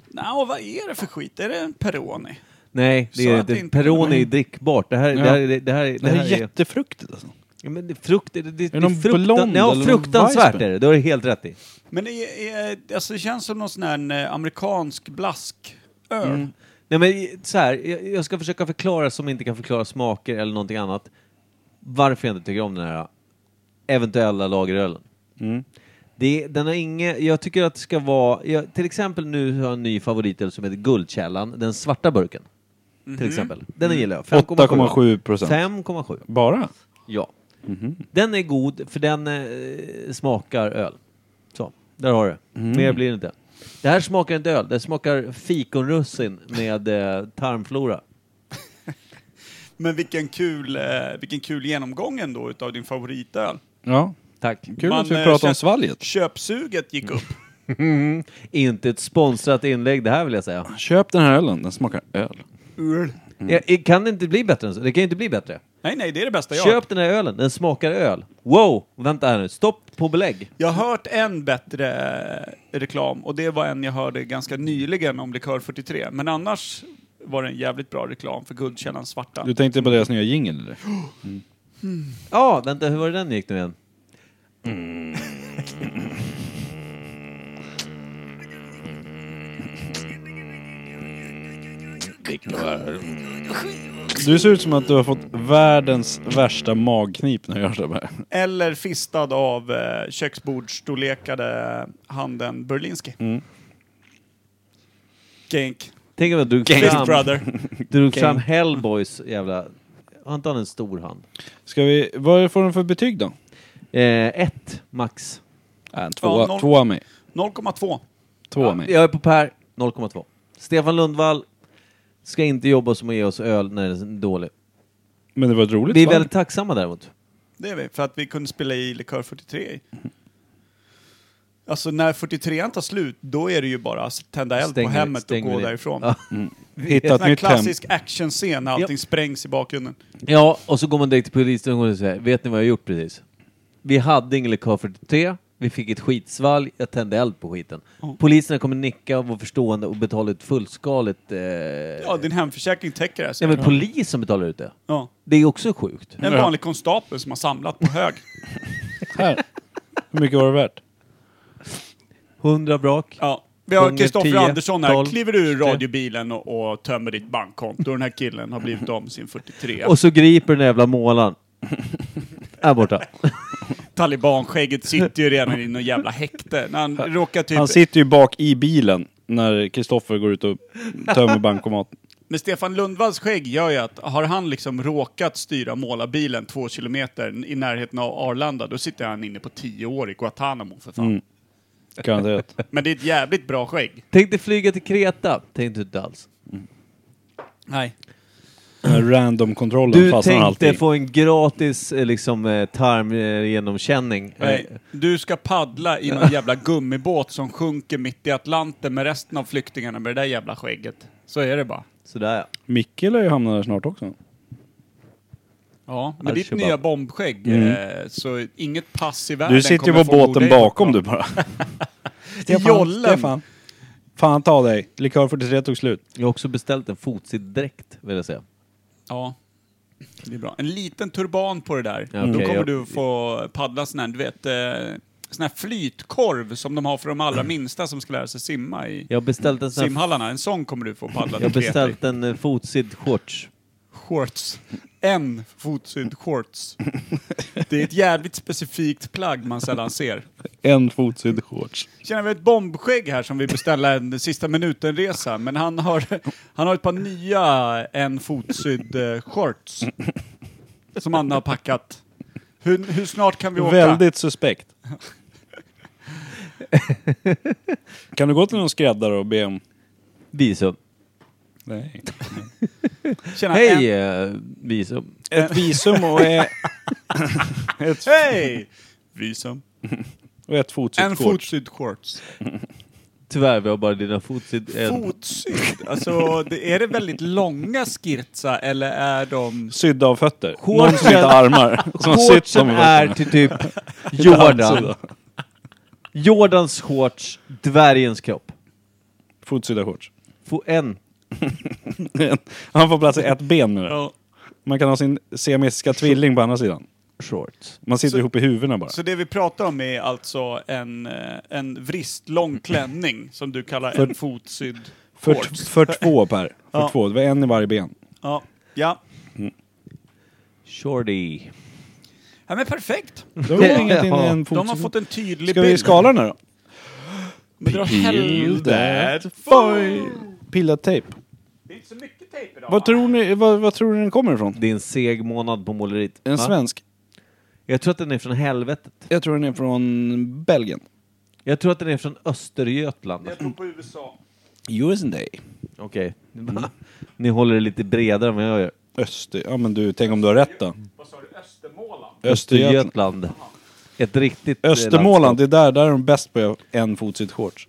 Speaker 3: Nå, vad är det för skit? Är det en Peroni?
Speaker 2: Nej, det
Speaker 3: Så
Speaker 2: är
Speaker 3: att det
Speaker 2: inte.
Speaker 3: inte- Mm.
Speaker 2: Peroni är drickbart. Det här, det
Speaker 1: Ja.
Speaker 2: här, är- det här, är-
Speaker 1: Det
Speaker 2: det här
Speaker 1: är
Speaker 2: är...
Speaker 1: jättefruktigt alltså.
Speaker 2: Ja, men det, frukt, det, det, det är
Speaker 1: någon
Speaker 2: fruktan,
Speaker 1: blond
Speaker 2: ja,
Speaker 1: eller någon
Speaker 2: fruktansvärt
Speaker 1: Weissbier?
Speaker 2: är det. Det har du helt rätt i.
Speaker 3: Men det, är, alltså, det känns som någon sån här eh, amerikansk
Speaker 1: Mm.
Speaker 3: blasköl.
Speaker 2: Nej, men i- så här, jag, jag ska försöka förklara som inte kan förklara smaker eller någonting annat. Varför jag inte tycker om den här eventuella lagerölen.
Speaker 1: Mm.
Speaker 2: Det, den har inget, jag tycker att det ska vara, jag, till exempel nu har jag en ny favoritöl som heter Guldkällan, den svarta burken. Till
Speaker 1: Mhm.
Speaker 2: exempel. Den
Speaker 1: Mm.
Speaker 2: gillar jag.
Speaker 1: 8,7 procent.
Speaker 2: 5,7.
Speaker 1: Bara?
Speaker 2: Ja.
Speaker 3: Mhm.
Speaker 2: Den är god för den eh, smakar öl. Så, där har du det.
Speaker 3: Mm.
Speaker 2: Mer blir det inte. Det här smakar inte öl, det smakar fikonrussin med eh, tarmflora.
Speaker 3: Men vilken kul, eh, vilken kul genomgång ändå utav din favoritöl.
Speaker 1: Ja.
Speaker 2: Tack.
Speaker 1: Kul
Speaker 3: Man,
Speaker 1: att vi
Speaker 3: eh,
Speaker 1: pratar om
Speaker 3: känner-
Speaker 1: svalget.
Speaker 3: Köpsuget gick upp.
Speaker 2: Inte ett sponsrat inlägg det här vill jag säga.
Speaker 1: Köp den här ölen, den smakar öl.
Speaker 3: Mm.
Speaker 2: Jag, jag kan det inte bli bättre än så? Det kan ju inte bli bättre.
Speaker 3: Nej, nej, det är det bästa jag hört.
Speaker 2: Köp den här ölen, den smakar öl. Wow! Vänta här nu, stopp på belägg.
Speaker 3: Jag har hört en bättre eh, reklam och det var en jag hörde ganska nyligen om Likör 43. Men annars var det en jävligt bra reklam för Guldkällan Svarta.
Speaker 1: Du tänkte på deras nya jingel eller?
Speaker 2: Ja, vänta, hur var det den gick nu igen?
Speaker 1: Du ser ut som att du har fått världens värsta magknip när du gör sådär.
Speaker 3: Eller fistad av eh, köksbordsstorlekade handen Berlinski.
Speaker 1: Mm.
Speaker 3: Genk.
Speaker 2: Tänk om jag drog
Speaker 3: Genk
Speaker 2: fram,
Speaker 3: brother.
Speaker 2: drog fram Hellboys jävla... Har inte han en stor hand?
Speaker 1: Ska vi, vad får den för betyg då?
Speaker 2: Eh, ett, max.
Speaker 1: Äh, en
Speaker 3: Ja,
Speaker 1: tvåa,
Speaker 3: noll.
Speaker 1: tvåa mig.
Speaker 3: 0,2.
Speaker 1: Tvåa mig.
Speaker 2: Jag är på Per, 0,2. Stefan Lundvall ska inte jobba som att ge oss öl när den är dålig.
Speaker 1: Men det var ett roligt
Speaker 2: Vi är
Speaker 1: svar.
Speaker 2: väldigt tacksamma däremot.
Speaker 3: Det är vi, för att vi kunde spela i Likör 43. i. Alltså när 43an tar slut, då är det ju bara att tända eld
Speaker 2: Stänger-
Speaker 3: på hemmet
Speaker 2: stänger
Speaker 3: och gå
Speaker 2: vi det.
Speaker 3: därifrån.
Speaker 2: Ja.
Speaker 1: Hitta
Speaker 3: Sån
Speaker 1: ett
Speaker 3: här
Speaker 1: nytt hem.
Speaker 3: klassisk actionscen när allting sprängs i bakgrunden.
Speaker 2: Ja, och så går man direkt till polisstationen och säger, vet ni vad jag har gjort precis? Vi hade ingen Lekar 43, vi fick ett skitsvalg, jag tände eld på skiten. Poliserna kommer nicka och vara förstående och betala ut fullskaligt... Eh...
Speaker 3: Ja, din hemförsäkring täcker det här.
Speaker 2: Ja,
Speaker 3: säger
Speaker 2: men
Speaker 3: jag.
Speaker 2: polis som betalar ut det.
Speaker 3: Ja.
Speaker 2: Det är också sjukt.
Speaker 3: En vanlig konstapel som har samlat på hög.
Speaker 1: Här. Hur mycket var det värt?
Speaker 3: Typ-
Speaker 2: 100 brak.
Speaker 3: Ja. Vi har
Speaker 2: Gånger
Speaker 3: Kristoffer
Speaker 2: 10,
Speaker 3: Andersson här,
Speaker 2: 12,
Speaker 3: kliver ur radiobilen och, och tömmer ditt bankkonto. Den här killen har blivit om sin 43.
Speaker 2: Och så griper den jävla målaren. Här borta.
Speaker 3: Talibanskägget sitter ju redan i någon jävla häkte. När han råkar typ...
Speaker 1: Han sitter ju bak i bilen när Kristoffer går ut och tömmer bankomaten.
Speaker 3: Men Stefan Lundvalls skägg gör ju att har han liksom råkat styra målarbilen två kilometer i närheten av Arlanda, då sitter han inne på tio år i Guantanamo för fan.
Speaker 1: Mm. Garanterat.
Speaker 3: Men det är ett jävligt bra skägg.
Speaker 2: Tänkte flyga till Kreta. Tänkte inte alls.
Speaker 3: Nej.
Speaker 1: Den här Random-kontrollen
Speaker 2: Du
Speaker 1: fastnar
Speaker 2: tänkte
Speaker 1: alltid.
Speaker 2: få en gratis eh, liksom, eh, tarmgenomkänning. Eh,
Speaker 3: Nej. Eh, Du ska paddla i någon jävla gummibåt som sjunker mitt i Atlanten med resten av flyktingarna med det där jävla skägget. Så är det bara.
Speaker 2: Sådär ja.
Speaker 1: Micke lär ju hamna där snart också.
Speaker 3: Ja, med ditt
Speaker 2: Al-Shabaab.
Speaker 3: nya bombskägg, eh, så inget pass i världen
Speaker 1: Mm. Du sitter ju på
Speaker 3: kommer få goda
Speaker 1: båten
Speaker 3: idéer.
Speaker 1: bakom du bara. Stefan,
Speaker 3: Jollen.
Speaker 1: Stefan. Fan ta dig. Likör 43 tog slut.
Speaker 2: Jag har också beställt en fotsittdräkt vill jag säga.
Speaker 3: Ja. Det är bra. En liten turban på det där.
Speaker 2: Ja,
Speaker 3: Då
Speaker 2: okej,
Speaker 3: kommer
Speaker 2: jag-
Speaker 3: du få paddla sån här, du vet, eh, sån här flytkorv som de har för de allra minsta som ska lära sig simma i
Speaker 2: Jag har beställt en sån här,
Speaker 3: simhallarna. En sån kommer du få paddla
Speaker 2: jag har
Speaker 3: till Kreta i.
Speaker 2: beställt en eh, fotsidd shorts.
Speaker 3: Shorts. En fotsydd shorts. Det är ett jävligt specifikt plagg man sällan ser.
Speaker 1: En fotsydd shorts.
Speaker 3: Tjena, vi har ett bombskägg här som vi beställde en sista minuten-resa, men han har, han har ett par nya en fotsydd eh, shorts som han har packat. Hur, hur snart kan vi åka?
Speaker 1: Väldigt suspekt. kan du gå till någon skräddare och be om...
Speaker 2: Visum.
Speaker 1: Nej.
Speaker 3: Tjena,
Speaker 2: Hej
Speaker 3: en-
Speaker 2: eh, visum.
Speaker 1: Ett visum och, eh, ett,
Speaker 3: Hej! Visum.
Speaker 1: och ett fotsydd
Speaker 3: En
Speaker 1: shorts.
Speaker 3: fotsydd shorts.
Speaker 2: Tyvärr, vi har bara dina fotsid... en-
Speaker 3: Fotsydd? Alltså, det, är det väldigt långa skirtsa eller är de...
Speaker 1: Sydda av fötter.
Speaker 2: Shortsen-
Speaker 1: Någon som inte har armar. Som har sytt
Speaker 2: Shortsen
Speaker 1: dem i
Speaker 2: är
Speaker 1: fötterna.
Speaker 2: till typ
Speaker 1: Handsida.
Speaker 2: Jordan. Jordans shorts, dvärgens kropp.
Speaker 1: Fotsydda shorts.
Speaker 2: Få en.
Speaker 1: Han får plats i ett ben med det.
Speaker 3: Ja.
Speaker 1: Man kan ha sin siamesiska tvilling på andra sidan.
Speaker 2: Shorts.
Speaker 1: Man sitter
Speaker 3: Så-
Speaker 1: ihop i huvudena bara.
Speaker 3: Så det vi pratar om är alltså en, eh, en vristlång klänning som du kallar en fotsydd
Speaker 1: Mm. För,
Speaker 3: shorts.
Speaker 1: för två Per. För
Speaker 3: Ja.
Speaker 1: två. Det var en i varje ben.
Speaker 3: Ja. ja.
Speaker 2: Shorty.
Speaker 3: Ja men perfekt.
Speaker 1: Det var väl ingenting
Speaker 2: Ja.
Speaker 1: med en
Speaker 3: De har
Speaker 1: fotsydd
Speaker 3: fått en tydlig
Speaker 1: Ska vi
Speaker 3: bild.
Speaker 1: skala den här då?
Speaker 3: Men dra åt helvete.
Speaker 1: Pillad tejp.
Speaker 3: Det är inte så mycket tejp idag.
Speaker 1: Vad tror ni, vad, vad tror ni den kommer ifrån?
Speaker 2: Det är en seg månad på måleriet.
Speaker 1: En
Speaker 2: Va?
Speaker 1: svensk.
Speaker 2: Jag tror att den är från helvetet.
Speaker 1: Jag tror den är från Belgien.
Speaker 2: Jag tror att den är från Östergötland.
Speaker 3: Jag tror på USA.
Speaker 1: USA.
Speaker 2: Okej.
Speaker 3: Mm.
Speaker 2: Ni håller det lite bredare än vad jag gör.
Speaker 1: Öster... Ja men du, tänk om du har rätt då.
Speaker 3: Vad sa du? Östermåland?
Speaker 1: Östergötland.
Speaker 2: Östergötland. Ett riktigt eh,
Speaker 1: Östermåland, det
Speaker 2: landskap.
Speaker 1: är där, där är de bäst på en fotsydd shorts.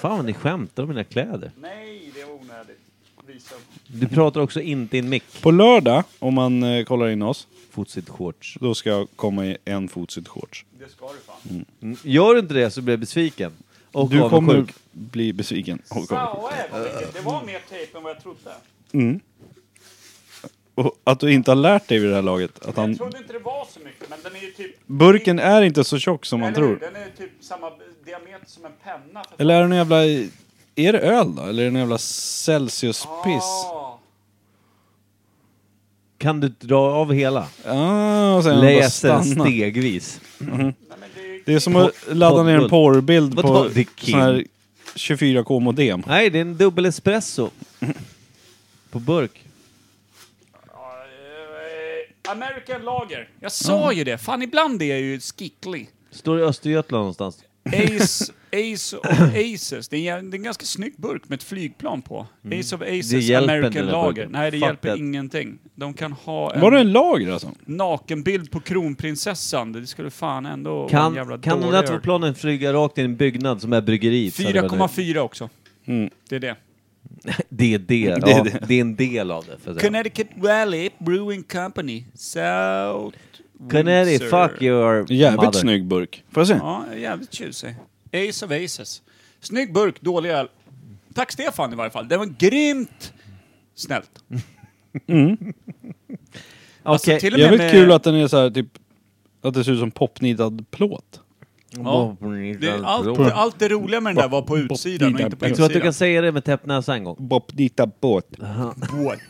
Speaker 2: Fan vad ni skämtar om mina kläder.
Speaker 3: Nej, det är onödigt. Visum.
Speaker 2: Du pratar också inte i en mick.
Speaker 1: På lördag, om man eh, kollar in oss,
Speaker 2: Fotsid shorts.
Speaker 1: då ska jag komma i en fotsydd shorts.
Speaker 3: Det ska du fan.
Speaker 2: Mm. Gör du inte det så blir jag besviken. Och
Speaker 1: Du kommer
Speaker 2: avundsjuk.
Speaker 1: bli besviken. Och, kommer-
Speaker 3: Sauer, eh, vad mycket. det var mer tejp än vad jag trodde.
Speaker 1: och att du inte har lärt dig vid det här laget. Att han...
Speaker 3: Jag trodde inte det var så mycket, men den är ju typ...
Speaker 1: Burken är inte så tjock som man
Speaker 3: Eller hur?
Speaker 1: tror.
Speaker 3: Den är ju typ samma diameter som en penna. För
Speaker 1: Eller är det någon jävla... Är det öl då? Eller är det någon jävla Celsius-piss?
Speaker 3: Ah.
Speaker 2: Kan du dra av hela?
Speaker 1: Ah, och sen bara
Speaker 2: Läs den
Speaker 1: stanna.
Speaker 2: stegvis.
Speaker 3: Nej, men det är
Speaker 1: Det är som att ladda ner en porrbild
Speaker 2: Vad
Speaker 1: på
Speaker 2: tar det, Kim?
Speaker 1: sån här 24k-modem.
Speaker 2: Nej, det är en dubbel espresso. På burk.
Speaker 3: Ja, eh, American Lager. Jag sa ju det. Fan, ibland är jag ju skicklig.
Speaker 2: Står i Östergötland någonstans.
Speaker 3: Ace, Ace of Aces. Det är, en, jä- det är en ganska snygg burk med ett flygplan på. Ace of Aces
Speaker 2: Mm. Det hjälper inte den
Speaker 3: American
Speaker 2: här
Speaker 3: Lager.
Speaker 2: burken.
Speaker 3: Nej, det
Speaker 2: Fuck
Speaker 3: hjälper
Speaker 2: that.
Speaker 3: ingenting. De kan ha en
Speaker 1: Var det en lager alltså?
Speaker 3: nakenbild på kronprinsessan. Det skulle fan ändå vara en jävla
Speaker 2: Kan, kan de där
Speaker 3: dålig
Speaker 2: två
Speaker 3: öl.
Speaker 2: planen flyga rakt in i en byggnad som är bryggeriet? så hade det varit nöjt.
Speaker 3: 4,4 också.
Speaker 1: Mm.
Speaker 3: Det är det.
Speaker 2: Det är det. Ja,
Speaker 1: Det
Speaker 2: det,
Speaker 1: är
Speaker 2: är
Speaker 1: det.
Speaker 2: en del av det. För att säga.
Speaker 3: Connecticut Valley Brewing Company. South
Speaker 2: Canary,
Speaker 3: Windsor.
Speaker 2: fuck your
Speaker 1: Jävligt
Speaker 2: mother.
Speaker 1: snygg burk. Får jag se?
Speaker 3: Ja, jävligt tjusig. Ace of Aces. Snygg burk, dålig öl. Tack Stefan i varje fall. Det var grymt snällt. Alltså,
Speaker 2: Okej.
Speaker 3: till och med
Speaker 1: Jävligt
Speaker 3: med-
Speaker 1: kul att den är så här typ... Att det ser ut som popnidad plåt.
Speaker 3: Ja. Det, allt, allt det roliga med den där var på utsidan och inte på
Speaker 2: Jag tror att du
Speaker 3: insidan.
Speaker 2: kan säga det med täppt näsa en gång.
Speaker 1: Popnidad plåt.
Speaker 3: Båt.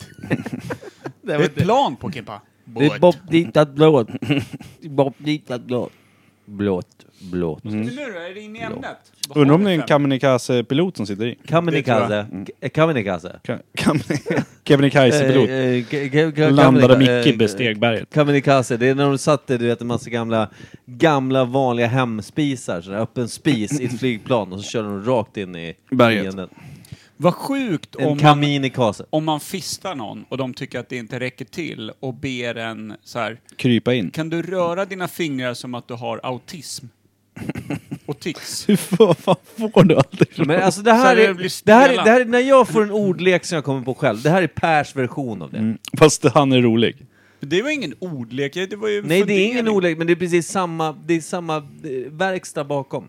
Speaker 3: Det är ett plan på Kimpa.
Speaker 2: Det är bobbditat blåt. Bobbditat blåt. Blåt, blåt.
Speaker 1: Mm.
Speaker 3: Men Nu då, är det inne i ämnet? Vad
Speaker 1: Undrar
Speaker 3: har
Speaker 1: om
Speaker 3: vi
Speaker 1: det är en
Speaker 3: för-
Speaker 1: kamikaze-pilot som sitter i.
Speaker 2: Kamikaze.
Speaker 1: Mm.
Speaker 2: K- Kamikaze.
Speaker 1: Ka- kam- Kebnekaise-pilot.
Speaker 2: Eh, eh, k- k- k-
Speaker 1: Landade
Speaker 2: kamika-
Speaker 1: Micke
Speaker 2: eh,
Speaker 1: besteg berget.
Speaker 2: Kamikaze, det är när de satte du vet, en massa gamla, gamla vanliga hemspisar, sådär, öppen spis i ett flygplan och så körde de rakt in i
Speaker 1: Berget.
Speaker 2: fienden.
Speaker 3: Vad sjukt
Speaker 2: En
Speaker 3: om man,
Speaker 2: kamikaze.
Speaker 3: om man fistar någon och de tycker att det inte räcker till och ber en så här.
Speaker 1: Krypa in.
Speaker 3: Kan du röra dina fingrar som att du har autism? Och tics?
Speaker 1: Hur fan får du allt det?
Speaker 2: Men alltså det
Speaker 3: Så här
Speaker 2: här,
Speaker 3: det
Speaker 2: är,
Speaker 3: blir
Speaker 2: det, här är,
Speaker 3: spelat.
Speaker 2: det här är när jag får en ordlek som jag kommer på själv. Det här är Pers version av det.
Speaker 3: Mm.
Speaker 1: Fast han är rolig.
Speaker 3: Det var ingen ordlek, det var ju
Speaker 2: Nej, det är
Speaker 3: fundering.
Speaker 2: ingen ordlek, men det är precis samma, det är samma eh, verkstad bakom.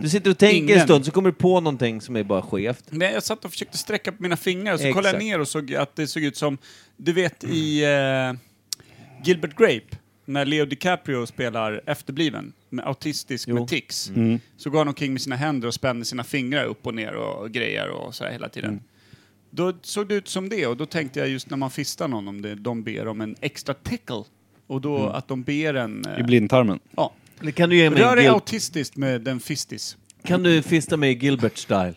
Speaker 2: Du sitter och tänker
Speaker 3: Ingen.
Speaker 2: en stund, så kommer du på någonting som är bara skevt.
Speaker 3: Nej, jag satt och försökte sträcka på mina fingrar och så
Speaker 2: Exakt.
Speaker 3: kollade jag ner och såg att det såg ut som, du vet i eh, Gilbert Grape, när Leo DiCaprio spelar efterbliven, med autistisk med tics,
Speaker 2: Mm.
Speaker 3: så går han omkring med sina händer och spänner sina fingrar upp och ner och grejer och så här hela tiden.
Speaker 2: Mm.
Speaker 3: Då såg det ut som det och då tänkte jag just när man fistar någon om det, de ber om en extra tickle. Och då
Speaker 2: Mm.
Speaker 3: att de ber en...
Speaker 1: I
Speaker 3: Eh,
Speaker 1: blindtarmen.
Speaker 3: ja.
Speaker 2: Eller Kan du ge mig
Speaker 3: Rör
Speaker 2: en
Speaker 3: dig
Speaker 2: Gil-
Speaker 3: autistiskt med en fistis.
Speaker 2: Kan du fista mig i Gilbert-style?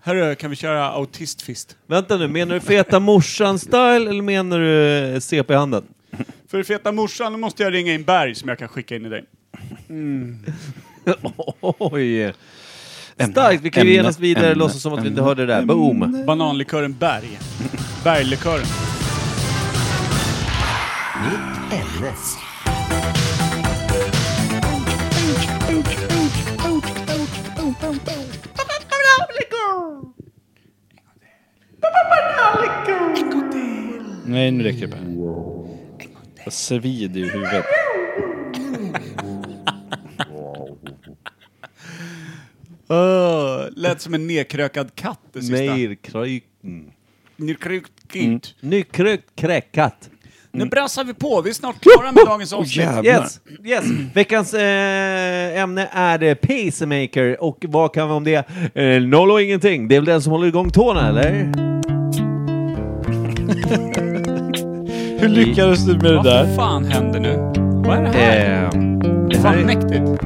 Speaker 3: Hörru, kan vi köra autistfist?
Speaker 2: Vänta nu, menar du feta morsan-style eller menar du eh, CP-handen?
Speaker 3: För feta morsan, då måste jag ringa in Berg som jag kan skicka in i dig.
Speaker 2: Oj! Starkt! Vi kan ju
Speaker 1: ämne,
Speaker 2: genast vidare
Speaker 1: ämne,
Speaker 2: och låtsas som att vi inte hörde det där. Boom!
Speaker 3: Bananlikören Berg. Berglikören.
Speaker 1: Nej, nu räcker det Per. Jag svider i huvudet.
Speaker 3: Oh, lät som en nedkrökad katt det sista. Nej.
Speaker 2: Nerkröken.
Speaker 3: Nedkrökt kint.
Speaker 2: Mm. Nykrökt kräkat.
Speaker 3: Nu brassar vi på, vi är snart klara med dagens avsnitt.
Speaker 2: Yes, yes. Veckans eh, ämne är eh, pacemaker och vad kan vi om det? Eh, noll och ingenting. Det är väl den som håller igång tårna, eller?
Speaker 1: Hur lyckades du med det
Speaker 3: Vad
Speaker 1: där?
Speaker 3: fan händer nu? Vad är det här?
Speaker 2: Eh,
Speaker 3: Det fan mäktigt.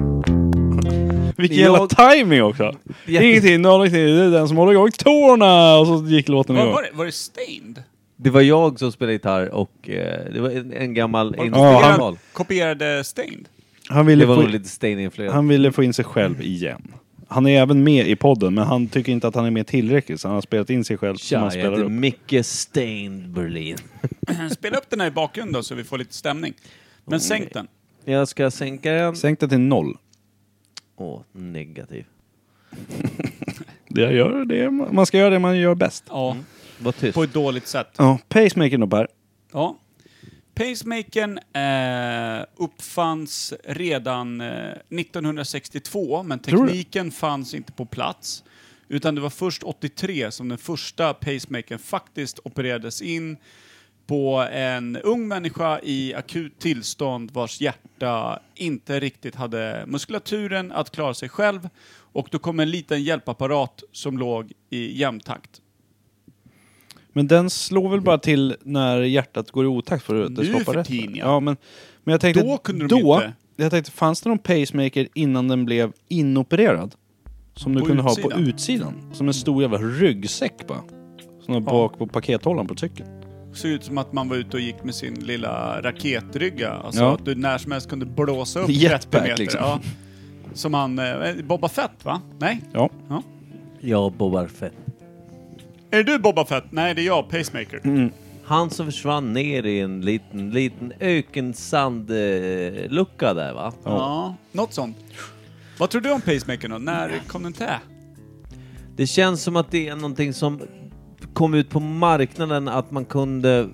Speaker 1: Vilken jävla
Speaker 2: jag-
Speaker 1: timing också! Ingenting, noll, ingenting. Det är den som håller igång tårna! Och så gick låten
Speaker 3: Var,
Speaker 1: igång.
Speaker 3: var, det, var det Stained?
Speaker 2: det var jag som spelade gitarr och eh, det var en, en gammal
Speaker 1: kopierad?
Speaker 2: instrumental.
Speaker 3: Kopierade Stained?
Speaker 1: Han
Speaker 2: Det
Speaker 1: ville,
Speaker 2: var
Speaker 1: få,
Speaker 2: nog lite Stain-influerat.
Speaker 1: han ville få in sig själv igen. Han är även med i podden, men han tycker inte att han är med tillräckligt, så han har spelat in sig själv som
Speaker 2: Tja,
Speaker 1: han
Speaker 2: jag
Speaker 1: spelar
Speaker 2: heter
Speaker 1: upp.
Speaker 2: Micke Stain Berlin.
Speaker 3: Spela upp den här i bakgrunden då så vi får lite stämning. Men sänk den.
Speaker 2: Jag ska sänka den.
Speaker 1: Sänk det till noll.
Speaker 2: Åh, negativ.
Speaker 1: Det jag gör det, man ska göra det man gör bäst.
Speaker 3: Ja,
Speaker 2: Var tyst.
Speaker 3: på ett dåligt sätt.
Speaker 1: Ja, pacemaker då Per.
Speaker 3: Ja. Pacemakern eh, uppfanns redan eh, 1962, men
Speaker 1: Tror du?
Speaker 3: tekniken fanns inte på plats. Utan det var först 83 som den första pacemakern faktiskt opererades in på en ung människa i akut tillstånd vars hjärta inte riktigt hade muskulaturen att klara sig själv Och då kom en liten hjälpapparat som låg i jämntakt.
Speaker 1: Men den slår väl bara till när hjärtat går i otakt för att det
Speaker 3: Nu
Speaker 1: skapar
Speaker 3: för
Speaker 1: rätt?
Speaker 3: tiden, ja.
Speaker 1: ja men, men jag tänkte
Speaker 3: Då
Speaker 1: att
Speaker 3: kunde de
Speaker 1: då,
Speaker 3: inte.
Speaker 1: Jag tänkte, fanns det någon pacemaker innan den blev inopererad? Som du
Speaker 3: På
Speaker 1: kunde ha på
Speaker 3: utsidan?
Speaker 1: utsidan? Som en stor jävla ryggsäck bara. Som var bak på pakethållaren på cykeln.
Speaker 3: Såg ut som att man var ute och gick med sin lilla raketrygga. Alltså
Speaker 1: Ja.
Speaker 3: att du när som helst kunde blåsa upp
Speaker 1: Jetpack,
Speaker 3: 30 meter.
Speaker 1: liksom.
Speaker 3: Ja. Som han... eh, Boba Fett va? Nej?
Speaker 1: Ja.
Speaker 2: Ja, Boba Fett.
Speaker 3: Är du Boba Fett? Nej, det är jag, Pacemaker.
Speaker 2: Mm, Han som försvann ner i en liten, liten ökensandlucka där va?
Speaker 3: Ja, något sånt. Vad tror du om Pacemaker då? När kom den till?
Speaker 2: Det känns som att det är någonting som kom ut på marknaden att man kunde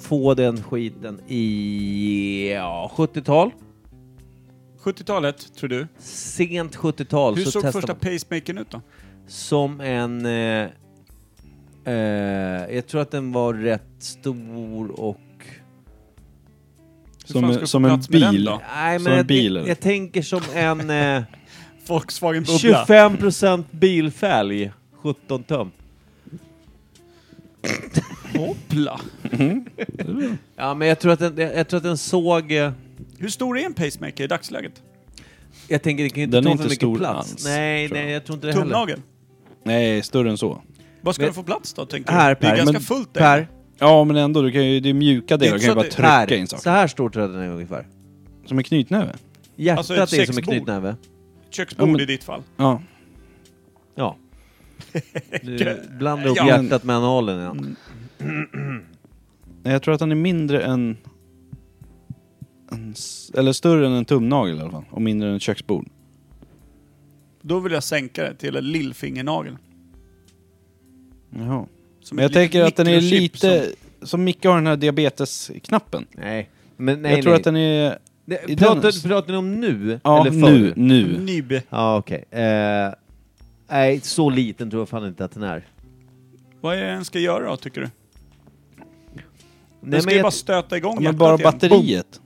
Speaker 2: få den skiten i ja, 70-tal.
Speaker 3: 70-talet, tror du?
Speaker 2: Sent 70-tal.
Speaker 3: Hur
Speaker 2: så
Speaker 3: såg
Speaker 2: testade
Speaker 3: första
Speaker 2: man-
Speaker 3: pacemakern ut då?
Speaker 2: Som en... Eh, eh, jag tror att den var rätt stor och...
Speaker 3: Hur fan ska
Speaker 1: Som,
Speaker 3: du
Speaker 1: som
Speaker 3: få
Speaker 1: en
Speaker 3: plats med den
Speaker 1: bil.
Speaker 3: då?
Speaker 2: Nej,
Speaker 1: Som
Speaker 2: men
Speaker 1: en
Speaker 2: jag,
Speaker 1: bil,
Speaker 2: jag,
Speaker 1: eller?
Speaker 2: jag tänker som en eh,
Speaker 3: Volkswagen Bubbla.
Speaker 2: 25% bilfälg. 17 tum.
Speaker 3: Hoppla.
Speaker 2: Ja, men jag tror att den, jag, jag tror att den såg... Eh,
Speaker 3: Hur stor är en pacemaker i dagsläget?
Speaker 2: jag tänker, det kan ju inte
Speaker 1: Den är
Speaker 2: ta
Speaker 1: inte
Speaker 2: för mycket
Speaker 1: stor
Speaker 2: plats.
Speaker 1: alls,
Speaker 2: nej,
Speaker 1: tror jag.
Speaker 2: nej, jag tror inte det heller.
Speaker 3: Tumnagel?
Speaker 1: Nej, större än så.
Speaker 3: Vad ska
Speaker 2: Men-
Speaker 3: den få plats då, tänker du?
Speaker 2: Här
Speaker 3: det är
Speaker 2: Per.
Speaker 3: ganska
Speaker 2: men-
Speaker 3: fullt där.
Speaker 2: Per,
Speaker 1: Ja men ändå, du kan ju, det är mjuka
Speaker 3: är
Speaker 1: delar, du
Speaker 3: inte
Speaker 1: kan ju bara
Speaker 3: så
Speaker 1: trycka
Speaker 2: här.
Speaker 1: in saker.
Speaker 2: Så här stor tror jag den är ungefär.
Speaker 1: Som en knytnäve?
Speaker 2: Hjärtat
Speaker 3: Alltså ett
Speaker 2: är som en
Speaker 3: sexbord.
Speaker 2: knytnäve.
Speaker 3: Köksbord
Speaker 1: Ja, men-
Speaker 3: i ditt fall.
Speaker 1: Ja.
Speaker 2: Ja. Du blandar upp
Speaker 3: Ja,
Speaker 1: men-
Speaker 2: hjärtat med analen
Speaker 1: Mm.
Speaker 2: igen.
Speaker 1: Nej, Jag tror att den är mindre än... än s- eller större än en tumnagel i alla fall. Och mindre än ett köksbord.
Speaker 3: Då vill jag sänka det till en lillfingernagel.
Speaker 1: Jaha.
Speaker 3: Som
Speaker 1: Men
Speaker 3: ett
Speaker 1: jag tänker
Speaker 3: litet
Speaker 1: att den är
Speaker 3: mikrochip
Speaker 1: lite... Som, Micke har den här diabetesknappen.
Speaker 2: Nej. Men nej,
Speaker 1: jag tror
Speaker 2: nej.
Speaker 1: att den är...
Speaker 2: Det,
Speaker 1: i
Speaker 2: pratar,
Speaker 1: den-
Speaker 2: pratar ni om nu?
Speaker 1: Ja,
Speaker 2: eller förr? Mm.
Speaker 1: nu.
Speaker 3: Som...
Speaker 1: Nu.
Speaker 3: Nybe.
Speaker 2: Ja, okej. Eh, nej, så liten tror jag fan inte att den är.
Speaker 3: Vad är det den ska göra då, tycker du? Den
Speaker 2: Nej,
Speaker 3: ska
Speaker 2: men
Speaker 3: ju
Speaker 2: jag,
Speaker 3: bara stöta igång
Speaker 1: Ja,
Speaker 3: hjärtat
Speaker 1: men bara
Speaker 3: igen.
Speaker 1: batteriet.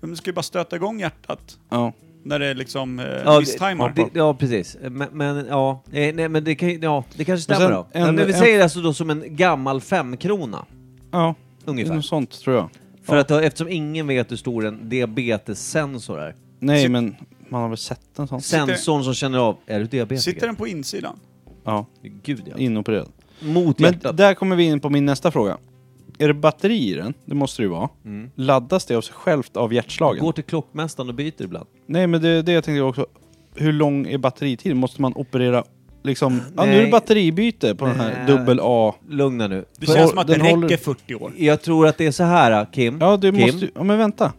Speaker 3: Den ska ju bara stöta igång hjärtat.
Speaker 1: Ja.
Speaker 3: När det är liksom eh,
Speaker 2: ja,
Speaker 3: misstajmar.
Speaker 2: det, ja, precis. Men, men ja, Eh, nej, men det, kan, ju- ja, det kanske
Speaker 1: Men
Speaker 2: stämmer
Speaker 1: sen
Speaker 2: då. Ja,
Speaker 1: en-
Speaker 2: men vi
Speaker 1: en-
Speaker 2: säger alltså då som en gammal femkrona,
Speaker 1: Ja. Det är
Speaker 2: ungefär.
Speaker 1: något sånt tror jag.
Speaker 2: För att, eh, eftersom ingen vet hur stor en diabetessensor är.
Speaker 1: Nej
Speaker 3: Sit-
Speaker 1: men man har väl sett en sån?
Speaker 2: Sensorn som känner av, är du diabetiker?
Speaker 3: Sitter den på insidan?
Speaker 1: Ja.
Speaker 2: Gud ja.
Speaker 1: Inopererad.
Speaker 2: Mot
Speaker 1: Men
Speaker 2: hjärtat.
Speaker 1: där kommer vi in på min nästa fråga. Är det batteri i den? Det måste det ju vara. Laddas det av sig självt av hjärtslagen?
Speaker 2: Går till klockmästaren och byter ibland.
Speaker 1: Nej men det är det jag tänkte också. Hur lång är batteritiden? Måste man operera liksom... Ja, nu
Speaker 2: Nej.
Speaker 1: är det batteribyte på den här
Speaker 2: Nej.
Speaker 1: dubbel A.
Speaker 2: Lugna nu.
Speaker 3: Det
Speaker 1: För-
Speaker 3: känns som att det
Speaker 1: den
Speaker 3: räcker
Speaker 1: håller-
Speaker 3: 40 år.
Speaker 2: Jag tror att det är så här eh, Kim.
Speaker 1: Ja, du
Speaker 2: Kim.
Speaker 1: måste ju- Ja men vänta.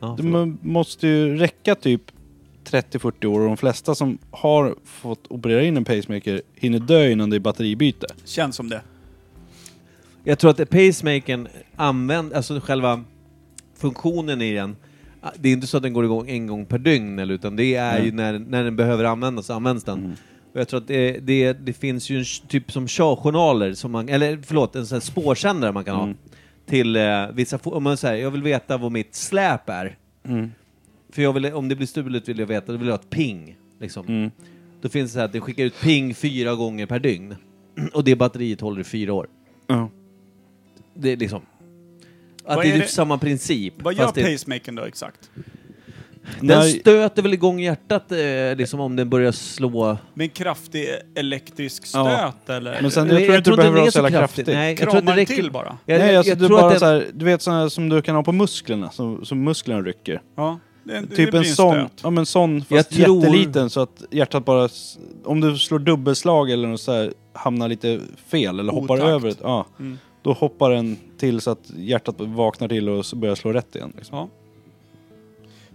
Speaker 2: Ja,
Speaker 1: Det
Speaker 2: förlåt.
Speaker 1: må- måste ju räcka typ 30-40 år och de flesta som har fått operera in en pacemaker hinner dö innan det är batteribyte.
Speaker 3: Känns som det.
Speaker 2: Jag tror att pacemakern använder, alltså själva funktionen i den, ah, det är inte så att den går igång en gång per dygn eller, utan det är ju när, när den behöver användas så används den. Och jag tror att det, det, det finns ju en sh- typ som körjournaler, som man, eller förlåt, en sån här spårsändare man kan ha. Till eh, vissa, fo- om man säger jag vill veta vad mitt släp är. För jag vill, om det blir stulet vill jag veta, då vill jag ha ett ping. Liksom. Då finns det så här att det skickar ut ping fyra gånger per dygn. Och det batteriet håller i fyra år.
Speaker 1: Ja.
Speaker 2: Det är liksom... Att
Speaker 3: Vad
Speaker 2: det
Speaker 3: är
Speaker 2: är typ
Speaker 3: det-
Speaker 2: samma princip.
Speaker 3: Vad gör
Speaker 2: fast det,
Speaker 3: pacemakern då exakt?
Speaker 2: den
Speaker 1: När-
Speaker 2: stöter väl igång hjärtat eh, liksom om den börjar slå...
Speaker 3: Med en kraftig elektrisk stöt
Speaker 1: Ja.
Speaker 3: eller?
Speaker 1: Men sen-
Speaker 2: Nej,
Speaker 1: jag tror inte du
Speaker 2: inte
Speaker 1: behöver
Speaker 2: den
Speaker 1: vara
Speaker 2: är
Speaker 1: så jävla
Speaker 2: kraftig.
Speaker 1: kraftig.
Speaker 2: Nej, jag tror
Speaker 3: Kramar
Speaker 2: att det
Speaker 3: den
Speaker 2: räcker.
Speaker 3: till bara?
Speaker 2: Jag,
Speaker 1: Nej,
Speaker 2: jag,
Speaker 1: alltså
Speaker 2: jag
Speaker 1: du
Speaker 2: tror
Speaker 1: bara
Speaker 2: att
Speaker 1: så
Speaker 2: den,
Speaker 1: här, du vet sådana här som du kan ha på musklerna, som, som musklerna rycker.
Speaker 3: Ja. Det, det
Speaker 1: typ
Speaker 3: blir
Speaker 1: en sån,
Speaker 3: stöt.
Speaker 1: ja men sån fast
Speaker 2: Jag tror-
Speaker 1: jätteliten så att hjärtat bara, s- om du slår dubbelslag eller något så här, hamnar lite fel eller hoppar
Speaker 3: Otakt.
Speaker 1: över, ett- ja.
Speaker 3: Mm.
Speaker 1: Då hoppar den till så att hjärtat vaknar till och så börjar slå rätt igen. Liksom.
Speaker 3: Ja.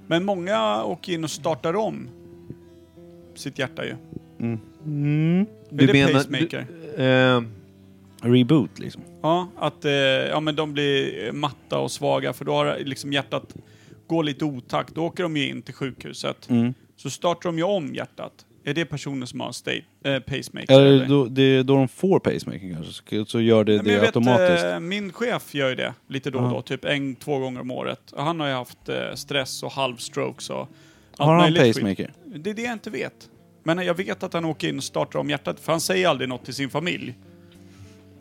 Speaker 3: Men många åker in och startar om sitt hjärta ju.
Speaker 1: Mm.
Speaker 2: du
Speaker 3: det
Speaker 2: menar...
Speaker 3: pacemaker?
Speaker 2: Du, eh,
Speaker 1: Ehm, Reboot liksom.
Speaker 3: Ja, att eh, ja, men de blir eh, matta och svaga för då har liksom hjärtat går lite otakt. Då åker de ju in till sjukhuset.
Speaker 1: Mm.
Speaker 3: Så startar de ju om hjärtat. Är det personer som har state, eh, pacemaker?
Speaker 1: Eller då, det är då de får pacemaking kanske, så, så gör det
Speaker 3: Nej, men
Speaker 1: det
Speaker 3: jag vet,
Speaker 1: automatiskt.
Speaker 3: eh, min chef gör ju det lite då och då, typ en, två gånger om året. Och han har ju haft eh, stress och halvstrokes och
Speaker 1: Har han
Speaker 3: möjligt skit.
Speaker 1: pacemaker?
Speaker 3: Det är det jag inte vet. Men jag vet att han åker in och startar om hjärtat, för han säger aldrig något till sin familj.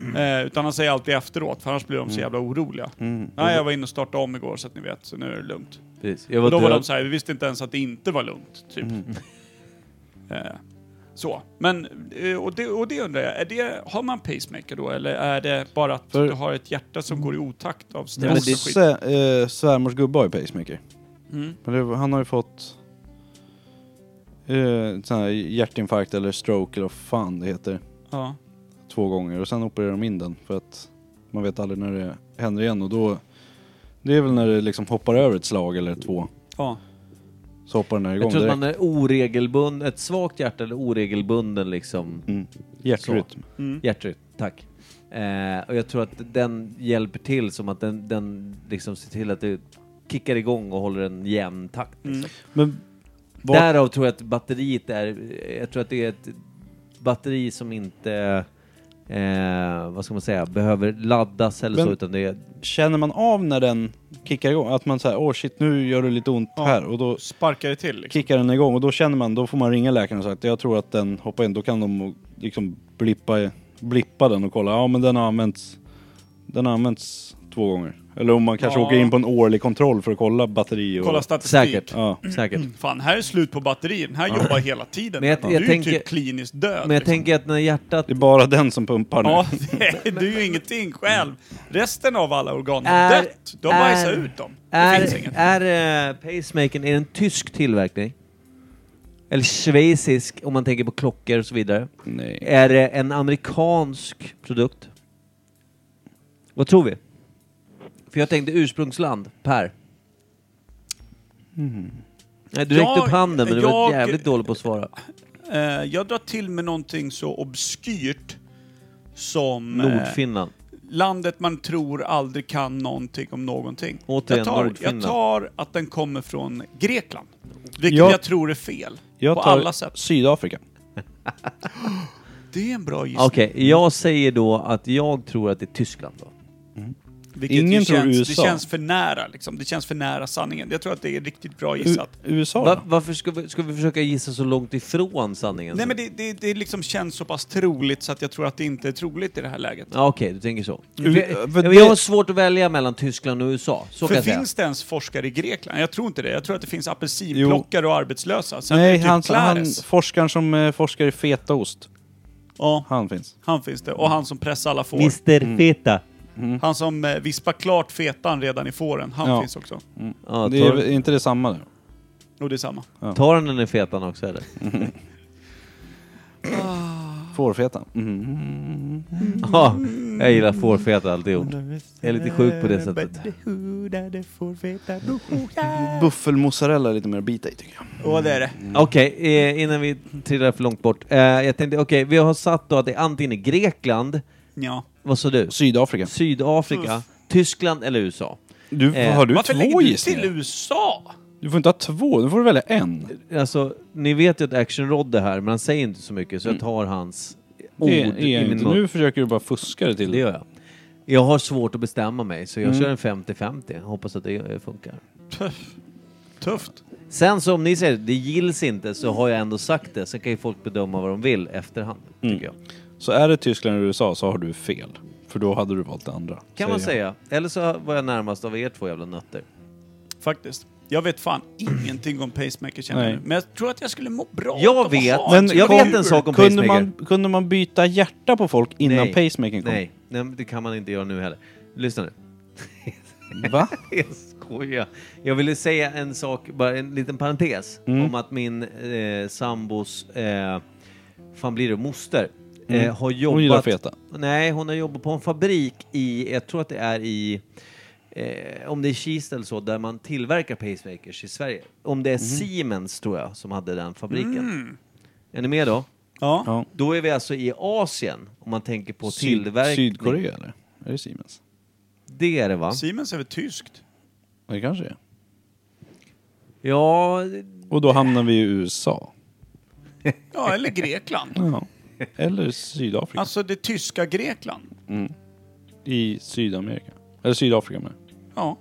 Speaker 1: Mm.
Speaker 3: Eh, utan han säger alltid efteråt, för annars blir de så jävla oroliga.
Speaker 1: Mm.
Speaker 3: Nej, jag var inne och startade om igår så att ni vet, så nu är det lugnt.
Speaker 2: Precis. Jag
Speaker 3: Och
Speaker 2: var
Speaker 3: då var de
Speaker 2: död.
Speaker 3: så här, vi visste inte ens att det inte var lugnt, typ.
Speaker 2: Mm.
Speaker 3: Eh, så. Men, eh, och det, och det undrar jag, är det, har man pacemaker då eller är det bara att
Speaker 1: För-
Speaker 3: du har ett hjärta som går i otakt av
Speaker 1: Ja, men
Speaker 3: stress och skit?
Speaker 1: Bosse, eh, svärmors gubbe har ju pacemaker.
Speaker 3: Mm.
Speaker 1: Men det, han har ju fått eh, sån här hjärtinfarkt eller stroke eller vad fan det heter.
Speaker 3: Ja.
Speaker 1: Två gånger och sen opererar de in den för att man vet aldrig när det händer igen och då... Det är väl när det liksom hoppar över ett slag eller två.
Speaker 3: ja.
Speaker 1: Så hoppar den här
Speaker 2: Jag
Speaker 1: igång
Speaker 2: tror att
Speaker 1: direkt.
Speaker 2: man är oregelbunden, ett svagt hjärta eller oregelbunden liksom
Speaker 1: Mm. Hjärtrytm.
Speaker 2: hjärtrytm. Tack. Eh, och jag tror att den hjälper till som att den, den liksom ser till att det kickar igång och håller en jämn takt.
Speaker 3: Mm.
Speaker 2: Liksom.
Speaker 1: Men vad-
Speaker 2: Därav tror jag att batteriet är, jag tror att det är ett batteri som inte, eh, vad ska man säga, behöver laddas eller
Speaker 1: Men-
Speaker 2: så utan det är,
Speaker 1: känner man av när den kickar igång? Att man säger åh shit nu gör det lite ont
Speaker 3: Ja.
Speaker 1: här och då
Speaker 3: Sparkar det till liksom.
Speaker 1: kickar den igång och då känner man, då får man ringa läkaren och säga att jag tror att den hoppar in. Då kan de liksom blippa, blippa den och kolla, ja men den har använts, den har använts två gånger. Eller om man kanske
Speaker 3: Ja.
Speaker 1: åker in på en årlig kontroll för att kolla batteri och...
Speaker 3: Kolla statistik. Mm.
Speaker 2: säkert,
Speaker 1: Ja.
Speaker 2: säkert.
Speaker 1: Mm.
Speaker 3: Fan, här är slut på batterin. Här jobbar hela tiden.
Speaker 2: Men jag-
Speaker 3: den.
Speaker 2: jag
Speaker 3: du är ju
Speaker 2: tänker-
Speaker 3: typ kliniskt död.
Speaker 2: Men jag
Speaker 3: liksom.
Speaker 2: tänker att när hjärtat
Speaker 1: Det är bara den som pumpar nu.
Speaker 3: Ja, det, du är ju ingenting själv. Resten av alla organ har
Speaker 2: Är-
Speaker 3: dött. Du har bajsat
Speaker 2: är-
Speaker 3: ut dem. Det finns
Speaker 2: Är,
Speaker 3: inget.
Speaker 2: är eh, pacemakern är det en tysk tillverkning? Eller schweizisk om man tänker på klockor och så vidare?
Speaker 1: Nej.
Speaker 2: Är det en amerikansk produkt? Vad tror vi? För jag tänkte ursprungsland, Per. Nej, du räckte
Speaker 3: Mm. Jag-
Speaker 2: upp handen men du var
Speaker 3: jag-
Speaker 2: jävligt dålig på att svara.
Speaker 3: Eh, jag drar till med någonting så obskyrt som eh,
Speaker 2: Nordfinland.
Speaker 3: landet man tror aldrig kan någonting om någonting.
Speaker 2: Återigen,
Speaker 3: jag, tar, jag
Speaker 2: Nordfinland.
Speaker 3: tar att den kommer från Grekland. Vilket
Speaker 1: Jag-
Speaker 3: jag tror är fel.
Speaker 1: Jag
Speaker 3: på
Speaker 1: tar
Speaker 3: alla sätt.
Speaker 1: Sydafrika.
Speaker 3: Det är en bra gissning.
Speaker 2: Okej, jag säger då att jag tror att det är Tyskland då.
Speaker 3: Vilket
Speaker 1: Ingen
Speaker 3: ju
Speaker 1: tror
Speaker 3: känns,
Speaker 1: USA.
Speaker 3: Det känns för nära liksom. Det känns för nära sanningen. Jag tror att det är riktigt bra
Speaker 1: U-
Speaker 3: gissat.
Speaker 1: USA
Speaker 2: Va,
Speaker 1: då?
Speaker 2: varför ska vi, ska vi försöka gissa så långt ifrån sanningen?
Speaker 3: Nej men det, det, det liksom känns så pass troligt så att jag tror att det inte är troligt i det här läget.
Speaker 2: Ja, Okej, du tänker så.
Speaker 1: U-
Speaker 2: Jag-
Speaker 1: för
Speaker 2: jag,
Speaker 1: det-
Speaker 2: har svårt att välja mellan Tyskland och USA, så kan
Speaker 3: För
Speaker 2: jag säga.
Speaker 3: finns det ens forskare i Grekland? Jag tror inte det. Jag tror att det finns apelsinplockare och arbetslösa. Sen är
Speaker 1: Nej,
Speaker 3: det typ
Speaker 1: han, han,
Speaker 3: Clares.
Speaker 1: forskaren som eh, forskar i fetaost.
Speaker 3: Ja,
Speaker 1: Han finns.
Speaker 3: han finns det. Och han som pressar alla får.
Speaker 2: Mr
Speaker 1: Mm.
Speaker 2: Feta.
Speaker 3: Han som eh, vispar klart fetan redan i fåren. Han
Speaker 1: Ja.
Speaker 3: finns också.
Speaker 2: Ja,
Speaker 1: Det är
Speaker 2: tar,
Speaker 1: väl inte det samma där.
Speaker 3: Och det är samma.
Speaker 2: tar han den i fetan också eller?
Speaker 1: Fårfeta. Mm.
Speaker 2: Ja, jag gillar fårfeta alltihop. Jag är lite sjuk på det sättet.
Speaker 1: Buffelmozzarella är lite mer att bita i tycker jag.
Speaker 3: Och det är det.
Speaker 2: Okej, eh, innan vi trillar för långt bort. Eh, jag tänkte, okej, vi har satt då att det är antingen är Grekland,
Speaker 3: Ja.
Speaker 2: vad sa du?
Speaker 1: Sydafrika.
Speaker 2: Sydafrika, Tyskland eller USA.
Speaker 1: Du,
Speaker 2: Eh,
Speaker 1: har du
Speaker 3: Varför lägger
Speaker 1: två
Speaker 3: du till
Speaker 1: gissningar?
Speaker 3: USA?
Speaker 1: Du får inte ha två, du får välja en.
Speaker 2: Alltså, ni vet ju att Action Rod är här, men han säger inte så mycket, så jag tar hans ord
Speaker 1: Mm. Det är
Speaker 2: i
Speaker 1: jag
Speaker 2: min
Speaker 1: inte.
Speaker 2: mun.
Speaker 1: Nu försöker du bara fuska det till.
Speaker 2: Det gör jag. Jag har svårt att bestämma mig, så
Speaker 1: Mm.
Speaker 2: jag kör en 50-50. Hoppas att det eh, funkar.
Speaker 3: Tufft.
Speaker 2: Sen så om ni säger det gills inte så har jag ändå sagt det. Sen kan ju folk bedöma vad de vill efterhand.
Speaker 1: Mm.
Speaker 2: Tycker jag.
Speaker 1: Så är det Tyskland eller USA så har du fel. För då hade du valt det andra.
Speaker 2: Kan man
Speaker 1: säger
Speaker 2: säga. Eller så var jag närmast av er två jävla nötter.
Speaker 3: Faktiskt. Jag vet fan ingenting om pacemaker känner
Speaker 1: Nej.
Speaker 3: jag nu. Men jag tror att jag skulle må bra
Speaker 2: Jag
Speaker 3: av att
Speaker 2: vet,
Speaker 3: ha
Speaker 1: jag.
Speaker 3: en
Speaker 2: Men jag
Speaker 3: figur.
Speaker 2: vet en sak om
Speaker 1: kunde
Speaker 2: pacemaker.
Speaker 1: man, kunde man byta hjärta på folk innan
Speaker 2: Nej.
Speaker 1: pacemaking kom?
Speaker 2: Nej, nej, men det kan man inte göra nu heller. Lyssna nu.
Speaker 1: Va?
Speaker 2: Jag skojar. Jag ville säga en sak, bara en liten parentes.
Speaker 1: Mm.
Speaker 2: Om att min eh, sambos, eh, fan blir det, moster. Eh, har jobbat...
Speaker 1: Mm. Hon gillar feta.
Speaker 2: Nej, hon har jobbat på en fabrik i, jag tror att det är i, eh, om det är Kista eller så, där man tillverkar pacemakers i Sverige. Om
Speaker 1: Mhm.
Speaker 2: det är Siemens tror jag som hade den fabriken. Är ni med då?
Speaker 3: Ja.
Speaker 1: Ja.
Speaker 2: Då är vi alltså i Asien, om man tänker på
Speaker 1: Syd-
Speaker 2: tillverkning.
Speaker 1: Sydkorea eller? Är det Siemens?
Speaker 2: Det är det va?
Speaker 3: Siemens är väl tyskt?
Speaker 1: Det kanske är.
Speaker 2: Ja,
Speaker 1: Och då hamnar vi i USA.
Speaker 3: Ja, eller Grekland.
Speaker 1: Ja. Eller Sydafrika.
Speaker 3: Alltså det tyska Grekland.
Speaker 1: I Sydamerika. Eller Sydafrika med.
Speaker 3: Ja.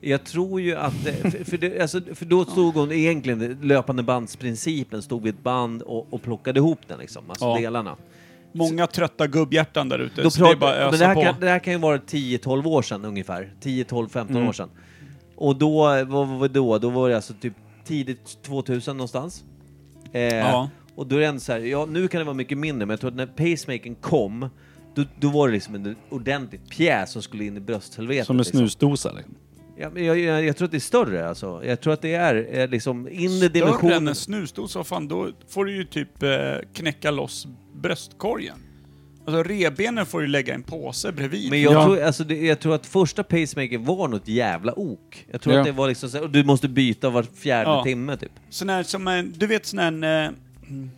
Speaker 2: Jag tror ju att... eh, För, för, det, alltså, för då stod hon egentligen, löpande bandsprincipen, stod vid ett band och, och plockade ihop den liksom, alltså
Speaker 3: Ja.
Speaker 2: delarna.
Speaker 3: Många trötta gubbhjärtan där ute.
Speaker 2: Då
Speaker 3: Så det är
Speaker 2: pratar,
Speaker 3: bara att
Speaker 2: men det,
Speaker 3: ösa
Speaker 2: här
Speaker 3: på.
Speaker 2: kan, det här kan ju vara 10-12 år sedan ungefär. 10-12-15
Speaker 3: Mm.
Speaker 2: år sedan. Och då, vad var det då? Då var det alltså typ tidigt 2000 någonstans. Eh,
Speaker 3: Ja.
Speaker 2: Och då är det ändå så här, ja nu kan det vara mycket mindre, men jag tror att när pacemakern kom, då, då var det liksom en ordentlig pjäs som skulle in i brösthelvetet.
Speaker 1: Som en
Speaker 2: liksom.
Speaker 1: snusdosa liksom.
Speaker 2: Ja, men jag, jag, jag tror att det är större alltså. Jag tror att det är eh, liksom inre
Speaker 3: Större än
Speaker 2: dimensionen.
Speaker 3: en snusdosa, vad fan, då får du ju typ eh, knäcka loss bröstkorgen. Alltså revbenen får du lägga i en påse bredvid.
Speaker 2: Men jag,
Speaker 1: Ja.
Speaker 2: tror, alltså, det, jag tror att första pacemaker var något jävla ok. Jag tror
Speaker 1: Ja.
Speaker 2: att det var liksom så här, och du måste byta var fjärde
Speaker 3: Ja.
Speaker 2: timme typ.
Speaker 3: Sån här, som en, du vet sån här en, eh, mm,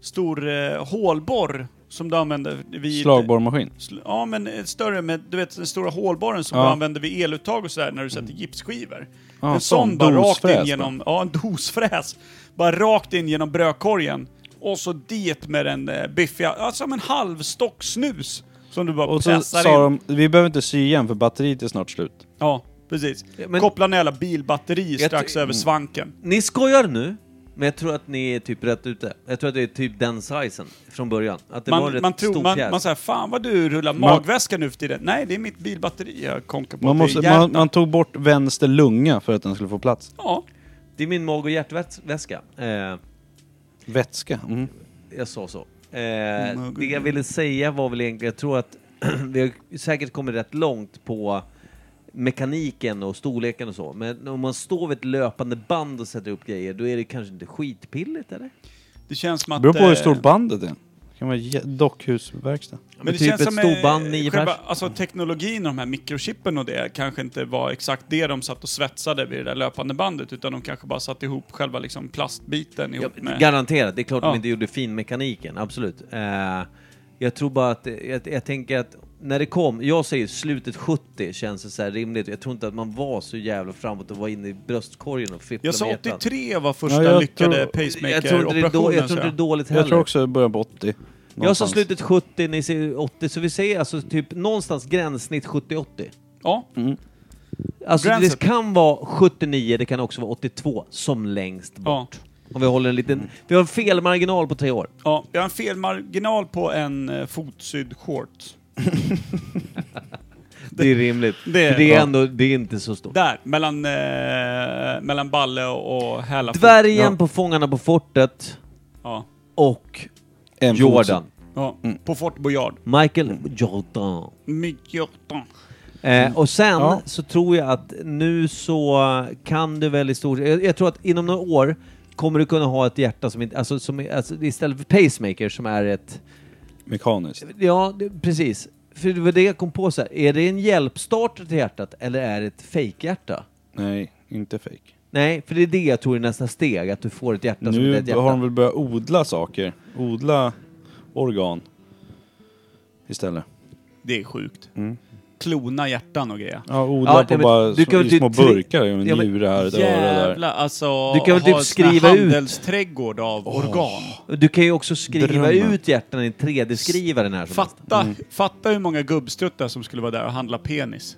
Speaker 3: stor eh, hålborr som du använder vid...
Speaker 1: Slagborrmaskin.
Speaker 3: Sl- Ja, men eh, större med, du vet den stora hålborren som
Speaker 1: Ja. Mm.
Speaker 3: du använder vid eluttag och sådär när du sätter gipsskivor.
Speaker 1: Ja,
Speaker 3: en
Speaker 1: sån
Speaker 3: sån bara rakt
Speaker 1: dosfräs
Speaker 3: in
Speaker 1: då.
Speaker 3: genom, ja en dosfräs. Bara rakt in genom brödkorgen. Och så dit med den eh, biffiga, ja, som en halv stock snus. Som du bara
Speaker 1: Och så
Speaker 3: pressar
Speaker 1: sa
Speaker 3: in.
Speaker 1: de, vi behöver inte sy igen för batteriet är snart slut.
Speaker 3: Ja, precis.
Speaker 2: Ja, men-
Speaker 3: Koppla en jävla bilbatteri
Speaker 2: Jag
Speaker 3: strax
Speaker 2: ty-
Speaker 3: över svanken.
Speaker 2: Ni skojar nu, men jag tror att ni är typ rätt ute. Jag tror att det är typ den sizen från början. Att det var en
Speaker 3: Man,
Speaker 2: rätt
Speaker 3: man
Speaker 2: stor
Speaker 3: tror, man,
Speaker 2: pjäs.
Speaker 3: man säger fan vad du rullar magväska nu för tiden. Nej, det är mitt bilbatteri jag konkar på.
Speaker 1: Man,
Speaker 3: Det är
Speaker 1: måste,
Speaker 3: jävla-
Speaker 1: man, man tog bort vänster lunga för att den skulle få plats.
Speaker 3: Ja.
Speaker 2: Det är min mag och hjärtväska. Eh,
Speaker 1: Vätska. Mm.
Speaker 2: jag sa så.
Speaker 3: Mm,
Speaker 2: Eh, det jag ville säga var väl egentligen, jag tror att vi har säkert kommit rätt långt på mekaniken och storleken och så. Men om man står vid ett löpande band och sätter upp grejer, då är det kanske inte skitpilligt eller?
Speaker 3: Det känns som
Speaker 1: Det
Speaker 3: att...
Speaker 1: beror på hur
Speaker 3: eh,
Speaker 1: stort bandet är. Det kan vara jä- dockhusverkstad.
Speaker 2: Men typ ett
Speaker 3: eh,
Speaker 2: storband, nio
Speaker 3: själva,
Speaker 2: pers.
Speaker 3: Alltså teknologin och de här mikrochippen och det kanske inte var exakt det de satt och svetsade vid det där löpande bandet utan de kanske bara satte ihop själva liksom plastbiten ihop med...
Speaker 2: Garanterat, det är klart
Speaker 3: Ja.
Speaker 2: de inte gjorde finmekaniken, absolut. Eh, jag tror bara att, jag, jag tänker att när det kom, jag säger slutet 70 känns det så här rimligt. Jag tror inte att man var så jävla framåt och var inne i bröstkorgen och fipplade
Speaker 3: jag sa
Speaker 2: med hjärtat.
Speaker 3: 83 var första
Speaker 1: Ja, jag
Speaker 3: lyckade
Speaker 1: tror-
Speaker 2: Jag tror inte det är, då, jag tror inte det är
Speaker 3: pacemaker-operationen.
Speaker 2: dåligt heller.
Speaker 1: Jag tror också början på 80.
Speaker 2: jag sa
Speaker 1: någonstans.
Speaker 2: slutet 70, ni säger 80, så vi säger alltså typ någonstans gränssnitt 70-80.
Speaker 3: Ja,
Speaker 2: Alltså
Speaker 3: Gränset.
Speaker 2: det kan vara 79, det kan också vara 82 som längst bort.
Speaker 3: ja,
Speaker 2: Om vi håller en liten... Vi har en felmarginal på tre år.
Speaker 3: ja. Jag har en felmarginal på en eh, fotsydd shorts.
Speaker 2: Det är rimligt.
Speaker 3: det är-
Speaker 2: För det är
Speaker 3: ja.
Speaker 2: ändå, det är inte så stort.
Speaker 3: Där, mellan, eh, mellan balle och, och häla.
Speaker 2: Dvärgen på Fångarna på fortet
Speaker 3: Ja,
Speaker 2: och
Speaker 1: En
Speaker 2: Jordan.
Speaker 3: ja. På Fort Boyard.
Speaker 2: Michael Jordan.
Speaker 3: Myggjortan.
Speaker 2: Eh, och sen
Speaker 1: Ja.
Speaker 2: så tror jag att nu så kan du väl i stort jag, jag tror att inom några år kommer du kunna ha ett hjärta som inte, alltså, som, är- alltså istället för pacemaker som är ett,
Speaker 1: fot- Mekaniskt.
Speaker 2: ja det, precis. För det var det jag kom på så här. är det en hjälpstarter till hjärtat eller är det ett fejkhjärta?
Speaker 1: Nej, inte fake.
Speaker 2: Nej, för det är det jag tror är nästa steg, att du får ett hjärta som inte är ett
Speaker 1: Nu
Speaker 2: hjärta.
Speaker 1: har de väl börjat odla saker. Odla organ. Istället.
Speaker 3: Det är sjukt. Klona hjärtan och grejer.
Speaker 1: Ja, odla
Speaker 2: Ja,
Speaker 1: på
Speaker 2: nej, men
Speaker 1: bara
Speaker 2: du
Speaker 1: du
Speaker 2: kan väl
Speaker 1: kan
Speaker 2: typ
Speaker 1: små
Speaker 2: tre-
Speaker 1: burkar. En
Speaker 2: Ja, men
Speaker 1: njure här, ett öra där.
Speaker 3: Jävla, alltså.
Speaker 2: Du kan väl
Speaker 3: ha
Speaker 2: typ
Speaker 3: en sån här
Speaker 2: skriva ut.
Speaker 3: handelsträdgård av organ.
Speaker 2: Du kan ju också skriva
Speaker 1: Drömmen.
Speaker 2: ut hjärtan i en 3D-skrivaren här. som
Speaker 3: Fatta,
Speaker 2: Mm.
Speaker 3: fatta hur många gubbstruttar som skulle vara där och handla penis.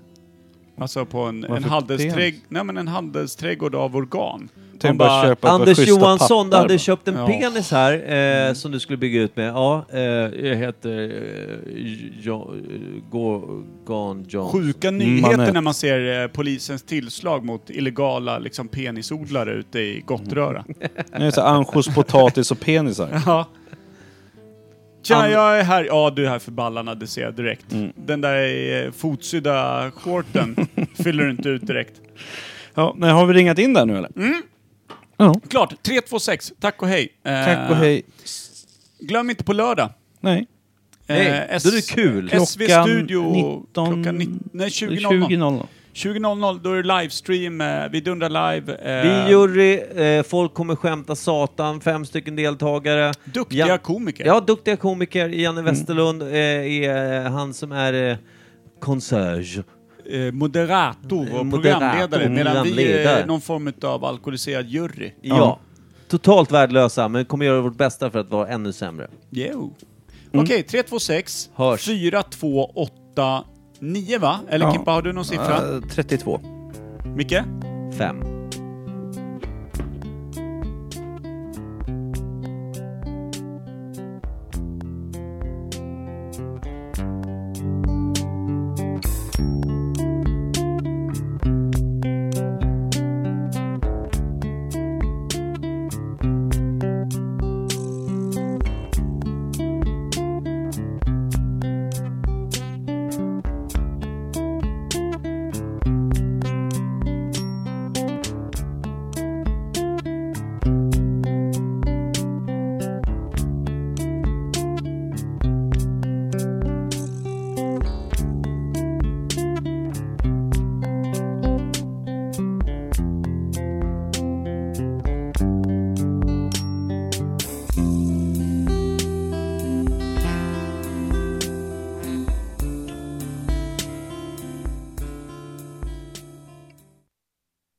Speaker 3: Alltså på en, en,
Speaker 1: Varför
Speaker 3: handelsträdg-
Speaker 1: penis?
Speaker 3: nej, men en handelsträdgård av organ. Man
Speaker 1: Tänk bara köpa ett par
Speaker 2: Anders
Speaker 1: schyssta
Speaker 2: Johansson, du
Speaker 1: pappar
Speaker 2: hade
Speaker 1: bara.
Speaker 2: köpt en
Speaker 3: Ja.
Speaker 2: penis här eh, som du skulle bygga ut med. Ja, eh, jag heter eh, jo, Gorgon John.
Speaker 3: Sjuka nyheter
Speaker 1: Manet.
Speaker 3: när man ser eh, polisens tillslag mot illegala liksom, penisodlare ute i Gottröra.
Speaker 2: Mm.
Speaker 1: Nej, så här, Anchos, potatis och penisar.
Speaker 3: Ja. Tjena,
Speaker 2: An- Mm.
Speaker 3: jag är här. Ja, du är här för ballarna, det ser jag direkt. Den där eh, fotsydda shorten fyller du inte ut direkt.
Speaker 1: Ja, nej, har vi ringat in där nu eller? Ja.
Speaker 3: Klart, 326. Tack och hej. Eh,
Speaker 1: Tack och hej.
Speaker 3: Glöm inte på lördag.
Speaker 1: Nej.
Speaker 2: Nej,
Speaker 3: Eh,
Speaker 2: då är det kul.
Speaker 3: SV
Speaker 1: Klockan
Speaker 3: Studio
Speaker 1: 19
Speaker 3: klockan ni- nej, 20.00.
Speaker 1: 20.00.
Speaker 3: 20.00, då är det livestream. Eh, vi dundrar live. Eh,
Speaker 2: Vi är jury, eh, folk kommer skämta satan, fem stycken deltagare.
Speaker 3: Duktiga
Speaker 2: Ja-
Speaker 3: komiker.
Speaker 2: Ja, duktiga komiker. Janne Westerlund eh, är eh, han som är eh, concierge.
Speaker 3: Eh, moderator och
Speaker 2: Eh, Moderator,
Speaker 3: programledare. Medan vi
Speaker 2: programledare.
Speaker 3: är någon form av alkoholiserad jury.
Speaker 2: Ja. Totalt värdelösa, men kommer göra vårt bästa för att vara ännu sämre.
Speaker 3: Jo. Okej, 326
Speaker 2: Mm. Hörs.
Speaker 3: 428 9 va? Eller
Speaker 1: Ja.
Speaker 3: Kimpa, har du någon siffra?
Speaker 1: Eh, 32.
Speaker 3: Micke?
Speaker 2: Fem.